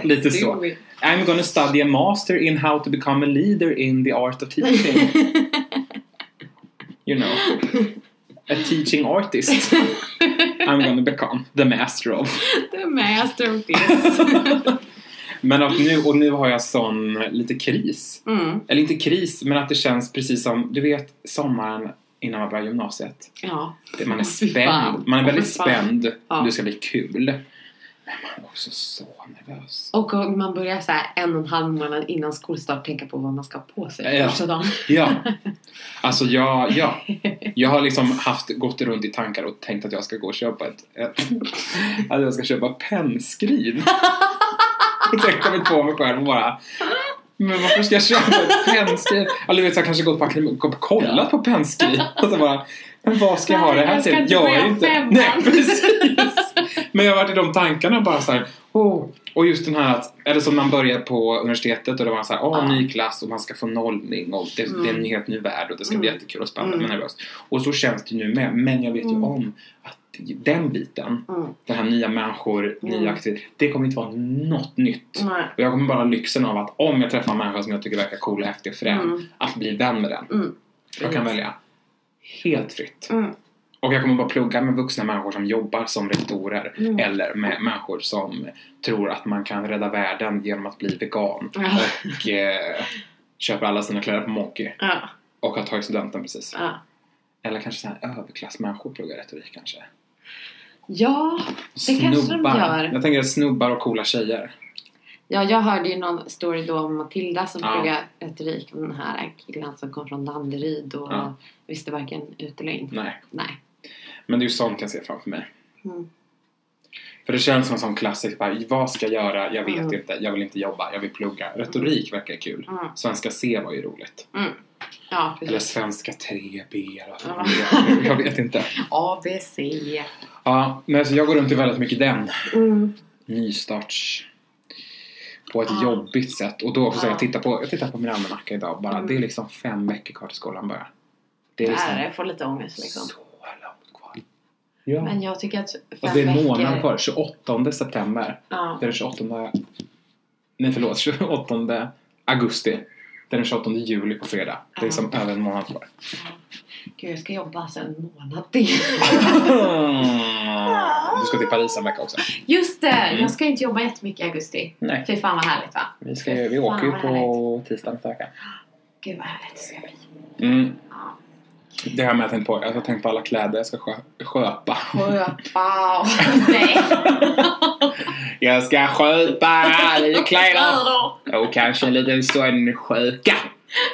S2: Lite så.
S1: Do it.
S2: I'm gonna study a master in how to become a leader in the art of teaching. You know. A teaching artist. I'm gonna become the master of.
S1: The master of this.
S2: Men att nu, och nu har jag sån lite kris.
S1: Mm.
S2: Eller inte kris, men att det känns precis som, du vet sommaren innan man börjar gymnasiet.
S1: Ja.
S2: Det- Man är
S1: Fy
S2: spänd.
S1: fan.
S2: Man är väldigt
S1: Fy fan.
S2: spänd.
S1: Ja.
S2: Det ska bli kul. Men man är också så nervös.
S1: Och om man börjar så här en och en halv månad innan skolstart tänka på vad man ska ha på sig
S2: Ja.
S1: första dagen.
S2: Ja. Alltså jag, ja. Jag har liksom haft, gått runt i tankar och tänkt att jag ska gå och köpa ett, ett att jag ska köpa pennskrin. Och sen kommit på mig själv och bara men varför ska jag köpa ett pennskrin? Eller du vet, jag har kanske gått på akademi- gått och kollat på pennskrin och så bara Men vad ska jag ha det här
S1: Nej, jag ska
S2: till?
S1: inte
S2: Jag är
S1: börja
S2: ju inte...
S1: femman.
S2: Nej, precis! Men jag har varit i de tankarna bara så här. Oh. Och just den här att, eller som man börjar på universitetet och det var så här, åh,
S1: Ja.
S2: ny klass och man ska få nollning och det, det är en helt ny värld och det ska bli
S1: Mm.
S2: jättekul och spännande
S1: Mm.
S2: men nervöst. Och så känns det nu med, men jag vet ju om att den biten,
S1: Mm.
S2: den här nya människor, nya
S1: Mm.
S2: aktiviteter, det kommer inte vara något nytt.
S1: Nej.
S2: Och jag kommer bara ha lyxen av att om jag träffar en människa som jag tycker verkar cool och häftig och frän,
S1: Mm.
S2: att bli vän med den.
S1: Mm.
S2: Jag kan välja helt fritt.
S1: Mm.
S2: Och jag kommer bara plugga med vuxna människor som jobbar som rektorer
S1: Mm.
S2: eller med människor som tror att man kan rädda världen genom att bli vegan
S1: Ja.
S2: och eh, köper alla sina kläder på Monki
S1: Ja.
S2: och har tagit studenten precis.
S1: Ja.
S2: Eller kanske sådana här överklassmänniskor pluggar retorik kanske.
S1: ja. Det kanske de gör.
S2: Jag tänker snubbar och coola tjejer.
S1: Ja, jag hörde ju någon story då om Matilda som
S2: Ja.
S1: pluggade retorik. Den här killen som kom från Danderyd och
S2: Ja.
S1: visste varken ut eller in.
S2: Nej.
S1: Nej.
S2: Men det är ju sånt jag ser framför mig.
S1: Mm.
S2: För det känns som en sån klassisk, bara, vad ska jag göra? Jag vet
S1: Mm.
S2: inte, jag vill inte jobba, jag vill plugga. Retorik verkar kul.
S1: Mm.
S2: Svenska C var ju roligt.
S1: Ja,
S2: Eller
S1: precis.
S2: svenska 3B eller vad
S1: Ja.
S2: fan det är. Jag vet inte.
S1: A, B, C.
S2: E. Ja, men så jag går runt i väldigt mycket den.
S1: Mm.
S2: Nystarts... På ett
S1: Ja.
S2: jobbigt sätt. Och då också,
S1: Ja.
S2: jag tittar på, jag tittar på min almanacka idag bara.
S1: Mm.
S2: Det är liksom fem veckor kvar till skolan börjar.
S1: Det
S2: Det är liksom
S1: är, jag får lite ångest liksom.
S2: så långt kvar. Ja.
S1: Men jag tycker att fem
S2: Alltså det är en månad
S1: veckor...
S2: kvar. 28 september.
S1: Ja.
S2: Det är den 28... Nej förlåt, 28 augusti. Det är den 28 juli på fredag. Det är liksom över en månad kvar.
S1: Gud, jag ska jobba alltså en månad till.
S2: Du ska till Paris en vecka också.
S1: Just det!
S2: Mm.
S1: Jag ska inte jobba jättemycket i augusti.
S2: Nej.
S1: Fy fan vad härligt va?
S2: Vi, ska, ju- vi åker ju
S1: Fan, vad
S2: på tisdag nästa vecka.
S1: Gud vad härligt det ska bli.
S2: Mm.
S1: Ja.
S2: Det har jag tänkt på. Jag har tänkt på alla kläder jag ska skö- sköpa.
S1: Wow! Nej!
S2: Jag ska sköpa lite kläder. Och kanske en liten sån sjuka.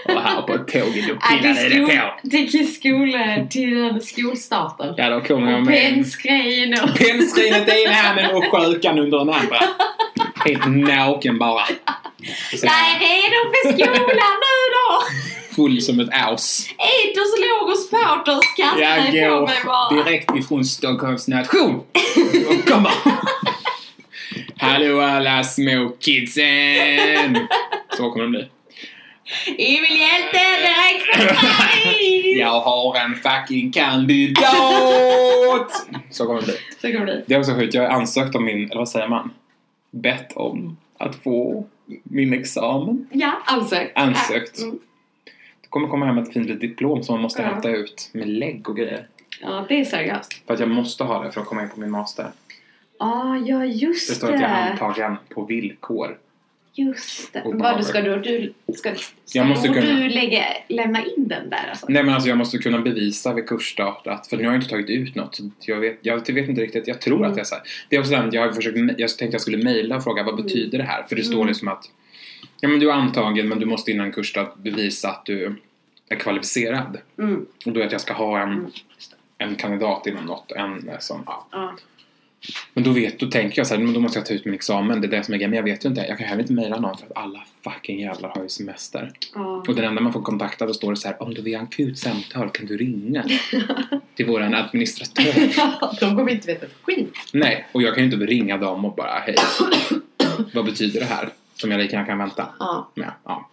S2: Och här på tåget och
S1: Äh,
S2: pillar i det på.
S1: Till skol... Till den skolstarten.
S2: Ja, då kommer jag
S1: Och
S2: med
S1: pensgrejen och...
S2: penslinet i ena handen och sjukan under den andra. Helt naken bara. Och sen
S1: Jag är redo för skolan nu då!
S2: Full som ett aus.
S1: Etos, logos, patos, kastar
S2: Jag
S1: dig på
S2: går
S1: mig bara.
S2: direkt ifrån Stockholms nation och kommer. Hallå alla små kidsen! Så kommer de bli.
S1: Emil Hjälte direkt från Paris!
S2: Jag har en fucking kandidat! Så kommer det bli.
S1: Så kommer det bli.
S2: Det är också sjukt, jag har ansökt om min, eller vad säger man? Bett om att få min examen.
S1: Ja, ansökt.
S2: Ansökt.
S1: Mm.
S2: Det kommer komma hem ett fint litet diplom som man måste
S1: Ja.
S2: hämta ut med lägg och grejer.
S1: Ja, det är seriöst.
S2: För att jag måste ha det för att komma in på min master.
S1: Ah, ja,
S2: Det
S1: just
S2: står att jag är
S1: det.
S2: antagen på villkor.
S1: Just det.
S2: Och bara-
S1: Vad ska då du... Ska, ska
S2: Jag måste
S1: då
S2: kunna-
S1: du lägga, lämna in den där alltså?
S2: Nej men alltså jag måste kunna bevisa vid kursstart att, för nu har jag inte tagit ut något. Så jag, vet, jag vet inte riktigt, jag tror
S1: Mm.
S2: att jag är så här. Det är också den, jag, har försökt, jag tänkte jag skulle mejla och fråga vad betyder det här? För det står
S1: Mm.
S2: liksom att ja men du är antagen men du måste innan kursstart bevisa att du är kvalificerad.
S1: Mm.
S2: Och då att jag ska ha en,
S1: Mm.
S2: en kandidat inom något. En eh, som, ja.
S1: Ja.
S2: Men då, vet, då tänker jag så här, men då måste jag ta ut min examen. Det är det som är grejen. Men jag vet ju inte. Jag kan heller inte mejla någon för att alla fucking jävlar har ju semester.
S1: Ja.
S2: Och den enda man får kontakta då står det så här, om du vill ha en akut samtal kan du ringa till våran administratör.
S1: De kommer inte veta skit.
S2: Nej, och jag kan ju inte ringa dem och bara hej, vad betyder det här? Som jag lika gärna kan vänta
S1: Ja.
S2: med. Ja.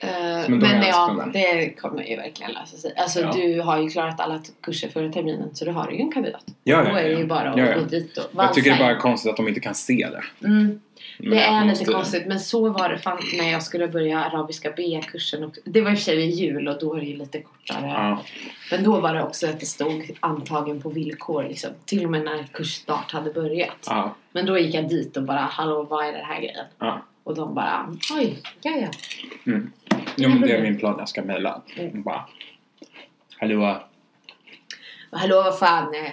S1: eh,
S2: Men
S1: men
S2: då är jag
S1: ja,
S2: ansökt.
S1: det kommer ju verkligen lösa sig. Alltså
S2: Ja.
S1: du har ju klarat alla t- kurser förra terminen så du har ju en kandidat.
S2: Ja,
S1: Då
S2: ja,
S1: är det
S2: ja.
S1: ju bara att
S2: Ja, ja.
S1: gå dit och
S2: Jag tycker det är
S1: valsa
S2: bara
S1: in.
S2: konstigt att de inte kan se det.
S1: Mm.
S2: Men
S1: Det
S2: att
S1: är
S2: man
S1: lite
S2: måste-
S1: konstigt men så var det fan när jag skulle börja arabiska B-kursen också. Det var i och för sig vid jul och då är det ju lite kortare.
S2: Ja.
S1: Men då var det också att det stod antagen på villkor liksom. Till och med när kursstart hade börjat.
S2: Ja.
S1: Men då gick jag dit och bara hallå vad är det här grejen?
S2: Ja.
S1: Och de bara oj, ja ja.
S2: Mm. Jo, men det är min plan. Jag ska mejla.
S1: Mm.
S2: Bara. Hallå.
S1: Och, Hallå vad fan. eh,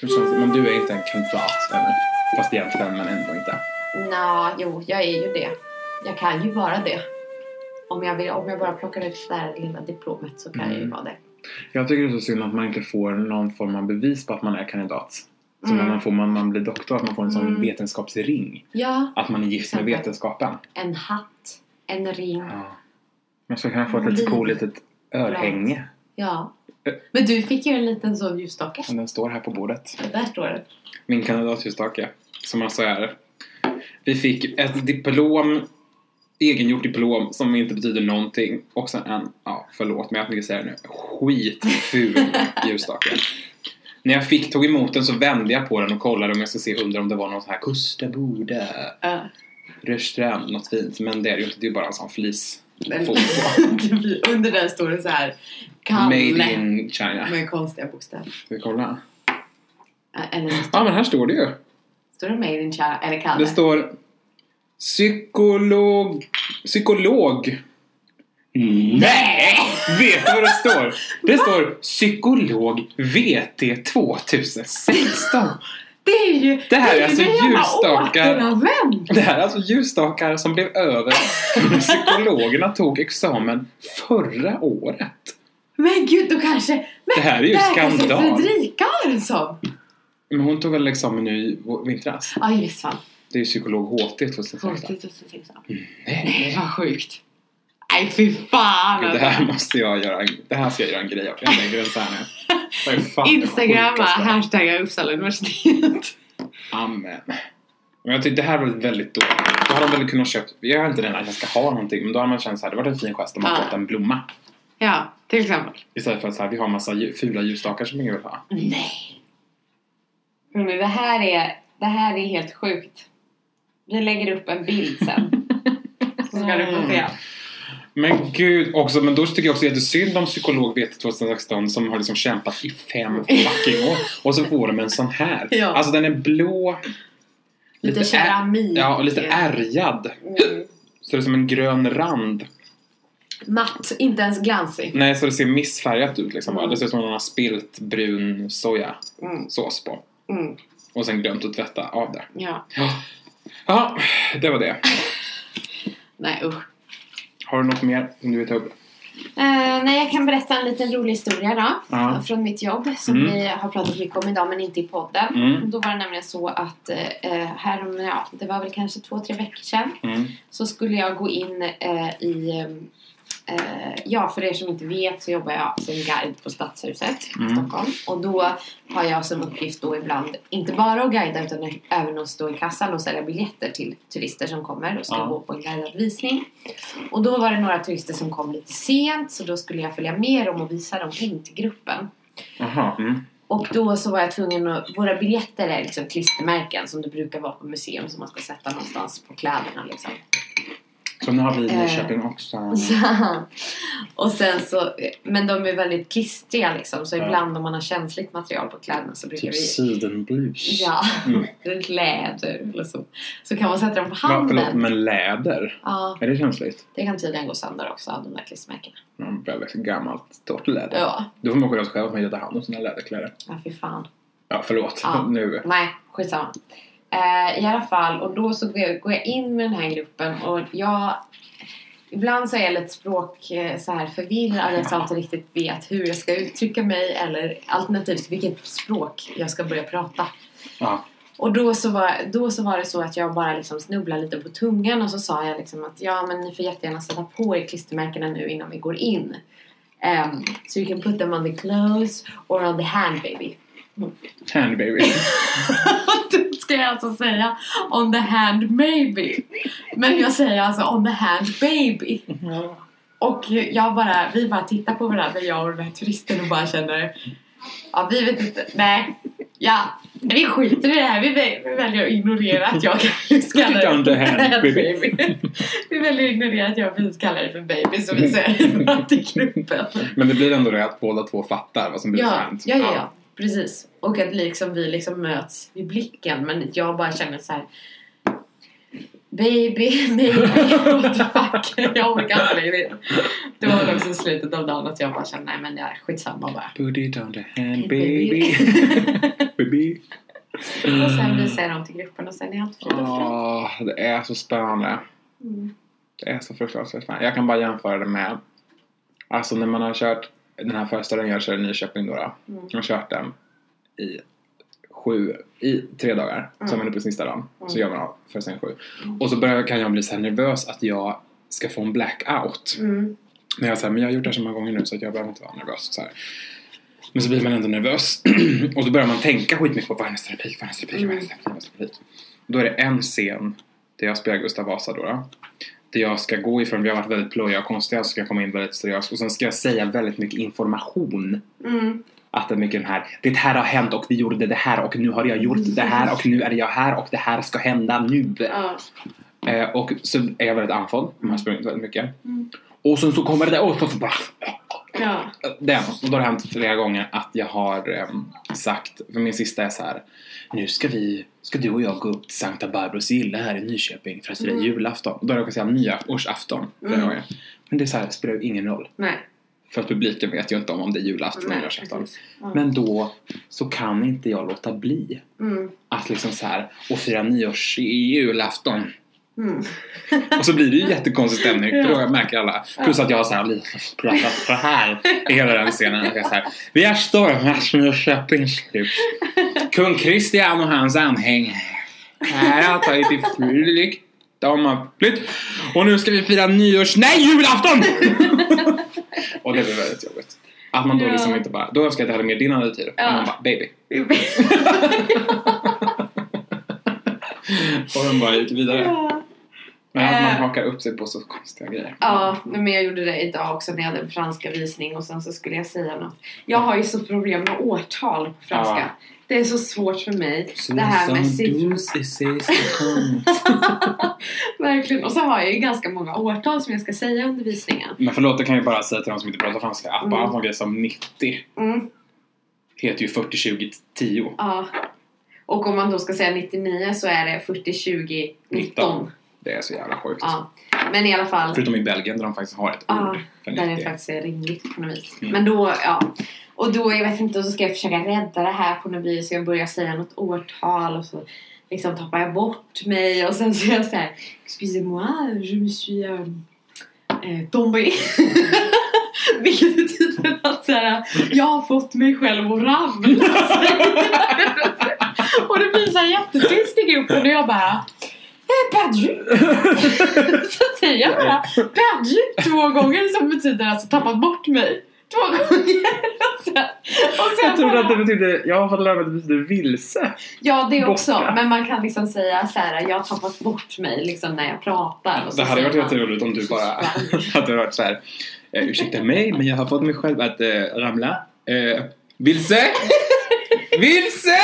S2: Hur känns det? Men du är inte en kandidat eller? Fast egentligen, men ändå inte.
S1: Nja, jo jag är ju det. Jag kan ju vara det. Om jag, vill, om jag bara plockar ut det där lilla diplomet så kan jag ju
S2: Mm.
S1: vara det.
S2: Jag tycker det är så synd att man inte får någon form av bevis på att man är kandidat. Som
S1: Mm.
S2: när man, får, man, man blir doktor, att man får en sån
S1: Mm.
S2: vetenskapsring.
S1: Ja,
S2: Att man är gift med
S1: Exempel.
S2: vetenskapen.
S1: en hatt, en ring.
S2: Ja. Man skulle kunna få ett litet
S1: Liv.
S2: coolt litet örhänge.
S1: Ja.
S2: Eh.
S1: Men du fick ju en liten sån ljusstake.
S2: Och den står här på bordet.
S1: Där står den.
S2: min kandidatljusstake. Som alltså är... Vi fick ett diplom, egengjort diplom som inte betyder någonting. Och sen en, ja förlåt men jag tänker säga det nu, skitful ljusstake. När jag fick, tog emot den så vände jag på den och kollade om jag ska se under om det var någon sån här Kustaboda,
S1: Eh,
S2: Röstrand, något fint. Men det är det ju inte, det är bara en sån flis.
S1: Den-
S2: Fot.
S1: Det blir- Under den står det så här.
S2: Made
S1: Kalle.
S2: in China.
S1: Med konstiga bokstäver.
S2: Ska vi kolla?
S1: Eh, Eller
S2: Ja men här står det ju.
S1: står det Made in China? Eller Kalle?
S2: Det står psykolog... Psykolog. Nej! Mm. Vet du vad det står? Det står psykolog VT 2016.
S1: Det är ju...
S2: Det här är alltså
S1: ju rena
S2: ljusstakar.
S1: återanvänd.
S2: Det här är alltså ljusstakar som blev över. Psykologerna tog examen förra året.
S1: Men gud, då kanske... Men
S2: Det här är ju
S1: kanske
S2: skandal.
S1: Fredrika Aronsson!
S2: Men hon tog väl examen nu i vå- vintras?
S1: Ja, just fan.
S2: Det är ju psykolog HT 2016.
S1: Sjukt.
S2: Nej,
S1: Vad sjukt. Nej, fy fan.
S2: Gud, det här måste jag göra. en- Det här ska jag göra en grej av. Jag lägger den så här nu. Det är fan alltså. det
S1: Instagramma
S2: sjukaste.
S1: hashtagga Uppsala universitet.
S2: Amen. Men jag tycker det här var väldigt dåligt. Då har de väl kunnat köpt, jag har inte den att jag ska ha någonting, men då har man känt så här, det var en fin gest om man
S1: Ja.
S2: fått en blomma.
S1: Ja, till exempel.
S2: Istället för att så här, vi har massa lju- fula ljusstakar som ingen vill ha.
S1: Nej. Hörrni, det här är, det här är helt sjukt. Vi lägger upp en bild sen. Så ska du få se.
S2: Men gud också, men då tycker jag också jättesynd om psykolog VT 2016 som har liksom kämpat i fem fucking år och så får de en sån här.
S1: Ja.
S2: Alltså den är blå.
S1: Lite
S2: är-
S1: keramik.
S2: Ja, och lite ärgad.
S1: Mm.
S2: Så det är som en grön rand.
S1: Matt, inte ens glansig.
S2: Nej, så det ser missfärgat ut liksom. va?
S1: Mm.
S2: Det ser ut som om någon har spilt brun sojasås
S1: Mm.
S2: på.
S1: Mm.
S2: Och sen glömt att tvätta av det.
S1: Ja,
S2: Ja, det var det.
S1: nej usch.
S2: Har du något mer som du vill ta upp?
S1: Eh, nej, jag kan berätta en liten rolig historia då.
S2: Ja.
S1: Från mitt jobb som
S2: Mm.
S1: vi har pratat mycket om idag men inte i podden.
S2: Mm.
S1: Då var det nämligen så att eh, härom, ja, det var väl kanske två, tre veckor sedan.
S2: Mm.
S1: så skulle jag gå in eh, i... Eh, ja, för er som inte vet så jobbar jag som guide på Stadshuset
S2: Mm.
S1: i Stockholm. Och då har jag som uppgift då ibland, inte bara att guida utan även att stå i kassan och sälja biljetter till turister som kommer och ska
S2: Ja.
S1: gå på en guidad visning. Och då var det några turister som kom lite sent så då skulle jag följa med dem och visa dem in till gruppen.
S2: Jaha. Mm.
S1: Och då så var jag tvungen att... Våra biljetter är liksom klistermärken som det brukar vara på museum som man ska sätta någonstans på kläderna liksom.
S2: Så nu har vi
S1: Eh.
S2: Nyköping också.
S1: Så, och sen så, men de är väldigt klistriga liksom så
S2: Ja.
S1: ibland om man har känsligt material på kläderna så brukar
S2: Typ
S1: vi
S2: sidenblus.
S1: Ja,
S2: Mm.
S1: läder eller så. Så kan man sätta dem på
S2: Va,
S1: handen.
S2: förlåt, men läder?
S1: Ja,
S2: Är det känsligt?
S1: det kan tydligen gå sönder också av de där klistermärkena.
S2: Man behöver ett gammalt torrt läder.
S1: Ja,
S2: Då får man skylla sig själv att man inte tar hand om sina läderkläder.
S1: ja fy fan.
S2: Ja, förlåt.
S1: Ja.
S2: nu.
S1: Nej, skitsamma. Eh, I alla fall, och då så går jag, går jag in med den här gruppen och jag... Ibland så är jag lite språk eh, så här förvirrad jag så inte riktigt vet hur jag ska uttrycka mig eller alternativt vilket språk jag ska börja prata.
S2: Ja.
S1: Och då så, var, då så var det så att jag bara liksom snubblade lite på tungan och så sa jag liksom att ja men ni får jättegärna sätta på er klistermärkena nu innan vi går in. Um, so you can put them on the clothes or on the hand baby.
S2: Handy baby.
S1: Då ska jag alltså säga on the hand maybe. Men jag säger alltså on the hand baby. Och jag bara, vi bara tittar på varandra, jag och den här turisten och bara känner Ja, vi vet inte. Nej. Ja, vi skiter i det här. Vi, vä- vi väljer att ignorera att jag
S2: Put it on the hand, baby.
S1: Vi väljer att ignorera att jag och kallar det för baby så vi säger det till gruppen.
S2: Men det blir ändå det att båda två fattar vad som blir
S1: Ja,
S2: sant.
S1: ja, ja, ja. Precis. Och att liksom vi liksom möts i blicken men jag bara känner så här. Baby, baby, what the fuck. Jag orkar inte längre. Det var väl också i slutet av dagen att jag bara kände nej men det är skitsamma bara.
S2: Put it on the hand baby. baby.
S1: och sen visar jag dem till gruppen och sen är allt frid och fröjd.
S2: Åh, det är så spännande.
S1: Mm.
S2: Det är så fruktansvärt spännande. Jag kan bara jämföra det med Alltså när man har kört den här föreställningen jag kör i Nyköping då. då
S1: Mm.
S2: Jag har kört den i sju, i tre dagar. Så är man uppe på sista dagen. Så gör man av föreställningen sju. Och så börjar, kan jag bli så här nervös att jag ska få en blackout.
S1: Mm.
S2: När jag säger men jag har gjort det här så många gånger nu så att jag behöver inte vara nervös. Så här. Men så blir man ändå nervös. och då börjar man tänka skitmycket på vad är nästa replik, vad är nästa replik, vad är nästa replik, vad är nästa replik. Då är det en scen där jag spelar Gustav Vasa då. då där jag ska gå ifrån, vi har varit väldigt plöjiga och konstiga, så ska jag komma in väldigt seriöst. Och sen ska jag säga väldigt mycket information.
S1: Mm.
S2: Att det är mycket den här, det här har hänt och vi gjorde det här och nu har jag gjort det här och nu är jag här och det här ska hända nu.
S1: Ja.
S2: Eh, och så är jag väldigt andfådd, man har sprungit väldigt mycket.
S1: Mm.
S2: Och sen så kommer det där och så så bara
S1: Ja.
S2: den. Och då har det hänt flera gånger att jag har ehm, sagt, för min sista är så här. Nu ska vi, ska du och jag gå upp till Sankta Barbros gille här i Nyköping för att fira julafton. Och då har jag råkat säga nyårsafton flera
S1: Mm.
S2: gånger. Men det är så här, spelar ju ingen roll.
S1: Nej.
S2: För att publiken vet ju inte om, om det är julafton eller
S1: Alltså, Nej,
S2: nyårsafton.
S1: precis. Ja.
S2: Men då så kan inte jag låta bli
S1: Mm.
S2: att liksom så här, och fira nyårs i julafton.
S1: Mm.
S2: Och så blir det ju jättekonstig stämning, för då märker alla. Plus
S1: Ja.
S2: att jag har så här lite pratat så här i hela den scenen. Att jag så här, vi är stormar med Köpings hus. Kung Kristian och hans anhäng här har tagit till flykt. De har flytt. Och nu ska vi fira nyårs... Nej, julafton! och det blir väldigt jobbigt. Att man då
S1: Ja.
S2: liksom inte bara... Då önskar jag att jag hade mer din attityd.
S1: Ja.
S2: Men man bara, baby. och de bara gick vidare.
S1: ja.
S2: Men att man
S1: Eh.
S2: hakar upp sig på så konstiga grejer.
S1: Ja, men jag gjorde det idag också när jag hade franska visning och sen så skulle jag säga något. Jag har ju så problem med årtal på franska.
S2: Ja.
S1: Det är så svårt för mig. det här med siffror. Verkligen. Och så har jag ju ganska många årtal som jag ska säga under visningen.
S2: Men förlåt, det kan jag bara säga till de som inte pratar franska. Appa
S1: Mm.
S2: mm. Anton som 90
S1: Mm.
S2: heter ju 40 20 10.
S1: Ja. Och om man då ska säga 99 så är det 40, 20, 19.
S2: Det är så jävla sjukt.
S1: Ja. Men i alla fall.
S2: Förutom i Belgien där de faktiskt har ett
S1: Ja,
S2: ord för
S1: Där det
S2: 90.
S1: faktiskt är rimligt på något vis.
S2: Mm.
S1: Men då, ja. Och då, jag vet inte, och så ska jag försöka rädda det här på något vis. Så jag börjar säga något årtal och så liksom tappar jag bort mig. Och sen så är jag såhär, excusez-moi, je me suis euh, eh, tombé. Vilket betyder att så här, jag har fått mig själv att ramla. och det blir såhär jättetyst i gruppen och jag bara Eh, Perdu! så säger jag bara perdu två gånger som betyder alltså tappat bort mig. Två gånger! och sen, och sen bara-
S2: betydde, jag har fått lära mig att det betyder vilse.
S1: Ja, det också.
S2: Borta.
S1: Men man kan liksom säga så här: jag har tappat bort mig liksom när jag pratar. Och så
S2: Det hade
S1: säger
S2: varit
S1: man-
S2: jätteroligt om du bara hade varit så här. Eh, ursäkta mig, men jag har fått mig själv att eh, ramla. Eh, vilse! vilse!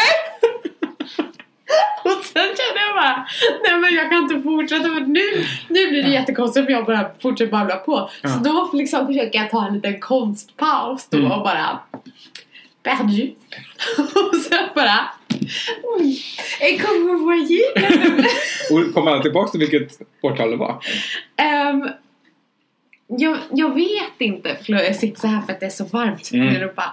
S1: Och sen kände jag bara, nej men jag kan inte fortsätta för nu, nu blir det jättekonstigt om jag bara fortsätter babbla på. Så
S2: Ja.
S1: då liksom försöker jag ta en liten konstpaus då
S2: Mm.
S1: och bara Perdu. och sen bara mm, Et comme vous voyez
S2: Och kom alla tillbaka till vilket årtal det var?
S1: Ehm, jag, jag vet inte, förlåt jag sitter så här för att det är så varmt
S2: Mm.
S1: i Europa.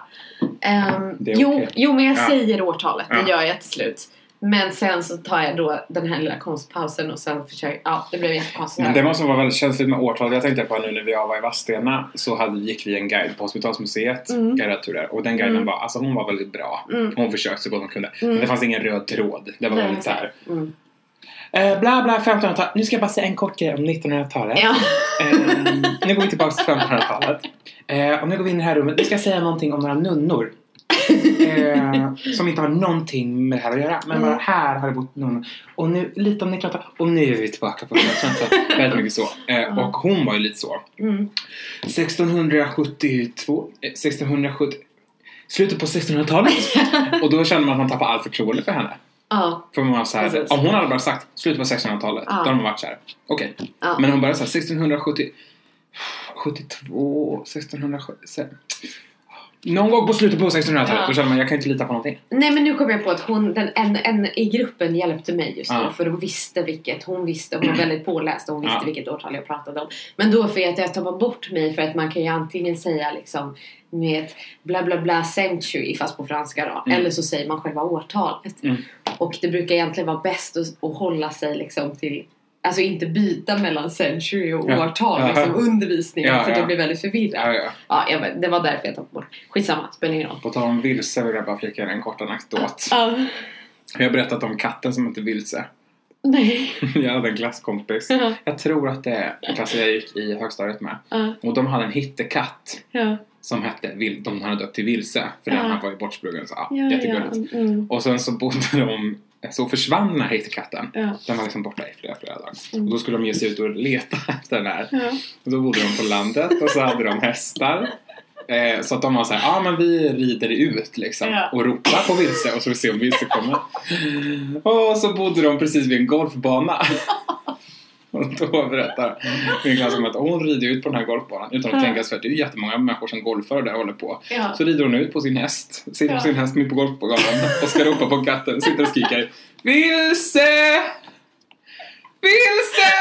S1: Ehm,
S2: Det är
S1: jo,
S2: okej.
S1: jo, men jag
S2: Ja.
S1: säger årtalet,
S2: Ja.
S1: det gör jag till slut. Men sen så tar jag då den här lilla konstpausen och sen försöker, ja det blev jättekonstigt.
S2: Men det var som var väldigt känsligt med årtal, jag tänkte på nu när jag var i Vadstena så hade, gick vi en guide på Hospitalsmuseet,
S1: Mm.
S2: guidad tur där. Och den guiden
S1: Mm.
S2: var, alltså hon var väldigt bra.
S1: Mm.
S2: Hon försökte så gott hon kunde.
S1: Mm.
S2: Men det fanns ingen röd tråd. Det var
S1: Nej,
S2: väldigt såhär.
S1: Mm.
S2: Eh, bla bla 1500-talet. Nu ska jag bara säga en kort grej om 1900-talet.
S1: Ja.
S2: Ehm, nu går vi tillbaka till 1500-talet. Eh, och nu går vi in i det här rummet. Nu ska jag säga någonting om några nunnor. Eh, som inte har någonting med det här att göra. Men bara
S1: Mm.
S2: här har det bott nunnor. Och nu lite om 1900-talet. Och nu är vi tillbaka på 1500-talet. Väldigt mycket så. Eh, och hon var ju lite så.
S1: Mm.
S2: 1672, eh, 1670, slutet på 1600-talet. Och då kände man att man tappade all förtroende för henne.
S1: Ja.
S2: För man var så här,
S1: Precis.
S2: om hon hade bara sagt slutet på 1600-talet,
S1: Ja.
S2: då hade man varit såhär, okej.
S1: Ja.
S2: Men hon började såhär 1670, 72, 1670, se- någon gång på slutet på 1600-talet,
S1: Ja.
S2: då kände man jag kan inte lita på någonting.
S1: Nej men nu kom jag på att hon, den, en, en i gruppen hjälpte mig just då
S2: Ja. Mm.
S1: för hon visste vilket, hon visste, hon var väldigt påläst och hon visste
S2: Ja.
S1: vilket årtal jag pratade om. Men då för att jag tappade bort mig för att man kan ju antingen säga liksom ni vet bla bla bla century fast på franska då.
S2: Mm.
S1: Eller så säger man själva årtalet.
S2: Mm.
S1: Och det brukar egentligen vara bäst att, att hålla sig liksom till Alltså inte byta mellan century och
S2: Ja.
S1: årtal
S2: Ja.
S1: liksom undervisningen
S2: Ja,
S1: för
S2: ja.
S1: det blir väldigt
S2: Ja,
S1: förvirrat.
S2: ja.
S1: Ja, jag vet, det var därför jag tappade bort. Skitsamma, spelar ingen roll.
S2: På tal om vilse vill jag bara flika in en kort anekdot.
S1: Ja.
S2: Jag har berättat om katten som hette Vilse.
S1: nej.
S2: Jag hade en klasskompis.
S1: Ja.
S2: Jag tror att det är en klass jag gick i högstadiet med.
S1: Ja.
S2: Och de hade en hittekatt
S1: Ja.
S2: som hette, Vil- de hade döpt till Vilse. För
S1: Ja.
S2: den här var ju bortsprungen. Så, ja,
S1: Ja,
S2: jättegulligt.
S1: Ja, mm.
S2: Och sen så bodde de, så försvann den här hittekatten.
S1: ja,
S2: Den var liksom borta i flera, flera dagar.
S1: Mm.
S2: Och då skulle de ge sig ut och leta efter den här.
S1: ja.
S2: Och då bodde de på landet och så hade de hästar. Eh, så att de var såhär, ja ah, men vi rider ut liksom
S1: Ja.
S2: och ropar på vilse och så får vi se om vilse kommer. Och så bodde de precis vid en golfbana. Och då berättar min klasskamrat att hon rider ut på den här golfbanan utan att
S1: Ja.
S2: tänka sig för att det är ju jättemånga människor som golfar och där håller på.
S1: Ja.
S2: Så rider hon ut på sin häst, sitter
S1: Ja.
S2: på sin häst mitt på golfbanan och ska ropa på katten, sitter och skriker Vilse! Vilse!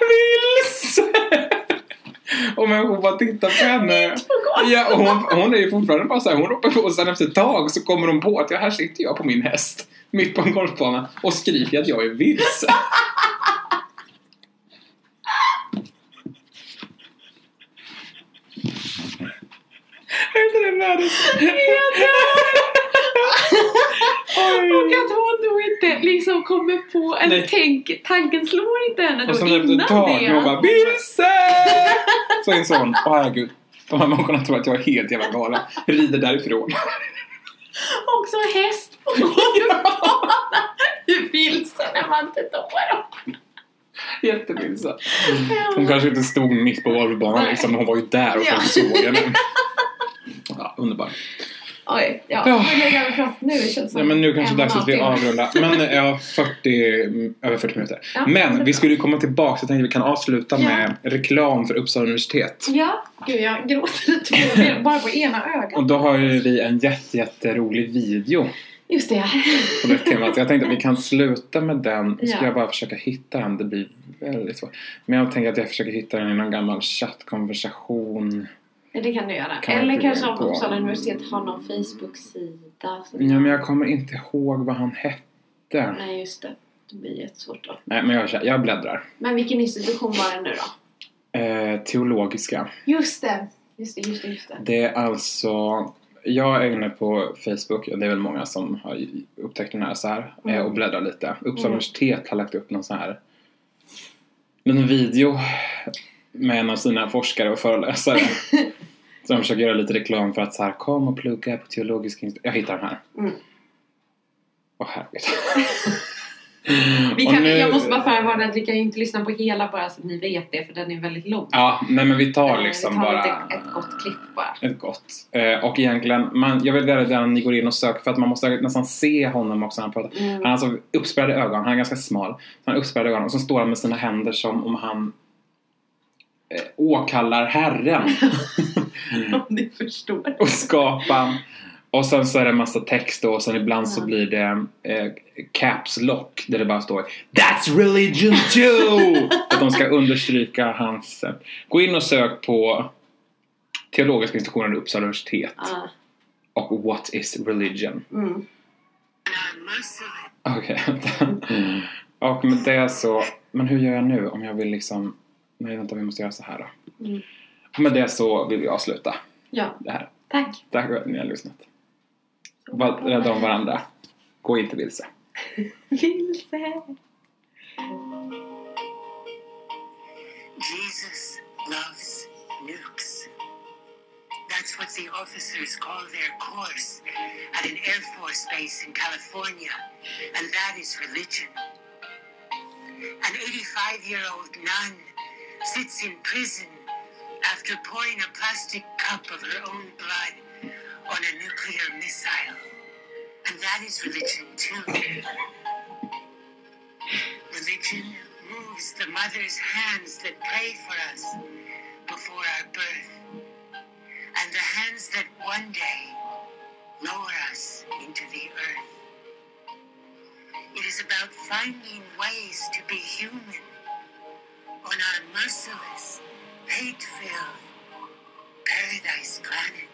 S2: Vilse! Och människor bara tittar på henne. Ja, och hon, hon är ju fortfarande bara såhär, hon ropar på och sen efter ett tag så kommer hon på att ja, här sitter jag på min häst. Mitt på en golfbana och skriker att jag är vilse. Är inte det världens...
S5: Och
S2: Oj.
S5: att hon då inte liksom kommer på
S2: Nej.
S5: en tänk, tanken slår inte henne då
S2: Och sen efter
S5: innan
S2: ett tag,
S5: det.
S2: hon bara vilse! Så insåg hon, åh herregud. De här människorna tror att jag är helt jävla galen. Rider därifrån.
S5: Också häst på golfbanan. Hur vilsen är man inte då? då?
S2: Jättevilse. Mm. Hon kanske inte stod mitt på golfbanan liksom, men hon var ju där och folk såg henne. Ja, underbar.
S1: Oj, ja.
S2: Ja.
S1: Hur länge har vi pratat nu? Det känns som
S2: Ja, men nu kanske det är dags att vi
S1: halvtimme.
S2: avrundar. Men eh, ja, 40, mm, över 40 minuter.
S1: Ja, det är
S2: Men
S1: bra.
S2: vi skulle ju komma tillbaka så jag tänkte vi kan avsluta
S1: Ja.
S2: med reklam för Uppsala universitet.
S1: Ja, gud jag gråter i två ben, bara på ena ögat.
S2: Och då har ju vi en jätte, jätterolig video
S1: Just det, ja.
S2: på det temat. Så jag tänkte att vi kan sluta med den. Nu ska
S1: Ja.
S2: jag bara försöka hitta den. Det blir väldigt svårt. Men jag tänker att jag försöker hitta den i någon gammal chattkonversation.
S1: Det kan du göra.
S2: Kan
S1: Eller
S2: inte
S1: kanske
S2: det
S1: om
S2: gå?
S1: Uppsala universitet har någon Facebook-sida. Så-
S2: Ja, men jag kommer inte ihåg vad han hette.
S1: Nej, just det. Det blir jättesvårt då.
S2: Nej, men jag, kör- jag bläddrar.
S1: Men vilken institution var det nu då?
S2: Eh, teologiska.
S1: Just det! Just det, just det, just det.
S2: Det är alltså... Jag är inne på Facebook, och det är väl många som har upptäckt den här så här eh,
S1: Mm.
S2: och bläddrar lite. Uppsala
S1: Mm.
S2: universitet har lagt upp någon så här en video med en av sina forskare och föreläsare. så de försöker göra lite reklam för att så här kom och plugga på teologisk institut. Jag hittar den här.
S1: Mm.
S2: Åh herregud.
S1: Vi
S2: Mm. Och
S1: kan,
S2: nu-
S1: Jag måste bara förvarna att vi kan ju inte lyssna på hela bara så att ni vet det för den är väldigt lång.
S2: Ja, nej men vi
S1: Eh,
S2: tar liksom
S1: vi tar
S2: bara...
S1: ett, ett gott klipp bara.
S2: Ett gott. Eh, och egentligen, man, jag vill välja den ni går in och söker för att man måste nästan se honom också när han pratar.
S1: Mm.
S2: Han har alltså uppspärrade ögon, han är ganska smal. Så han har uppspärrade ögon och så står han med sina händer som om han eh, åkallar Herren
S1: Om ni förstår.
S2: och skapar. Och sen så är det en massa text då, och sen ibland så
S1: Ja.
S2: blir det eh, caps lock där det bara står That's religion too! att de ska understryka hans... eh, Gå in och sök på Teologiska institutionen vid Uppsala universitet
S1: Ah,
S2: och What is religion?
S1: mm.
S2: Okej, vänta. Och med det så... Men hur gör jag nu om jag vill liksom... Nej, vänta, vi måste göra så här då.
S1: Mm.
S2: Och med det så vill vi avsluta
S1: Ja,
S2: det här.
S1: tack.
S2: Tack för att ni har lyssnat. Var rädda om varandra. Gå inte vilse.
S1: Vilse!
S6: Jesus loves nukes. That's what the officers call their course at an Air Force base in California, and that is religion. An 85 year old nun sits in prison after pouring a plastic cup of her own blood on a nuclear missile, and that is religion too. Religion moves the mother's hands that pray for us before our birth, and the hands that one day lower us into the earth. It is about finding ways to be human on our merciless, hate filled paradise planet.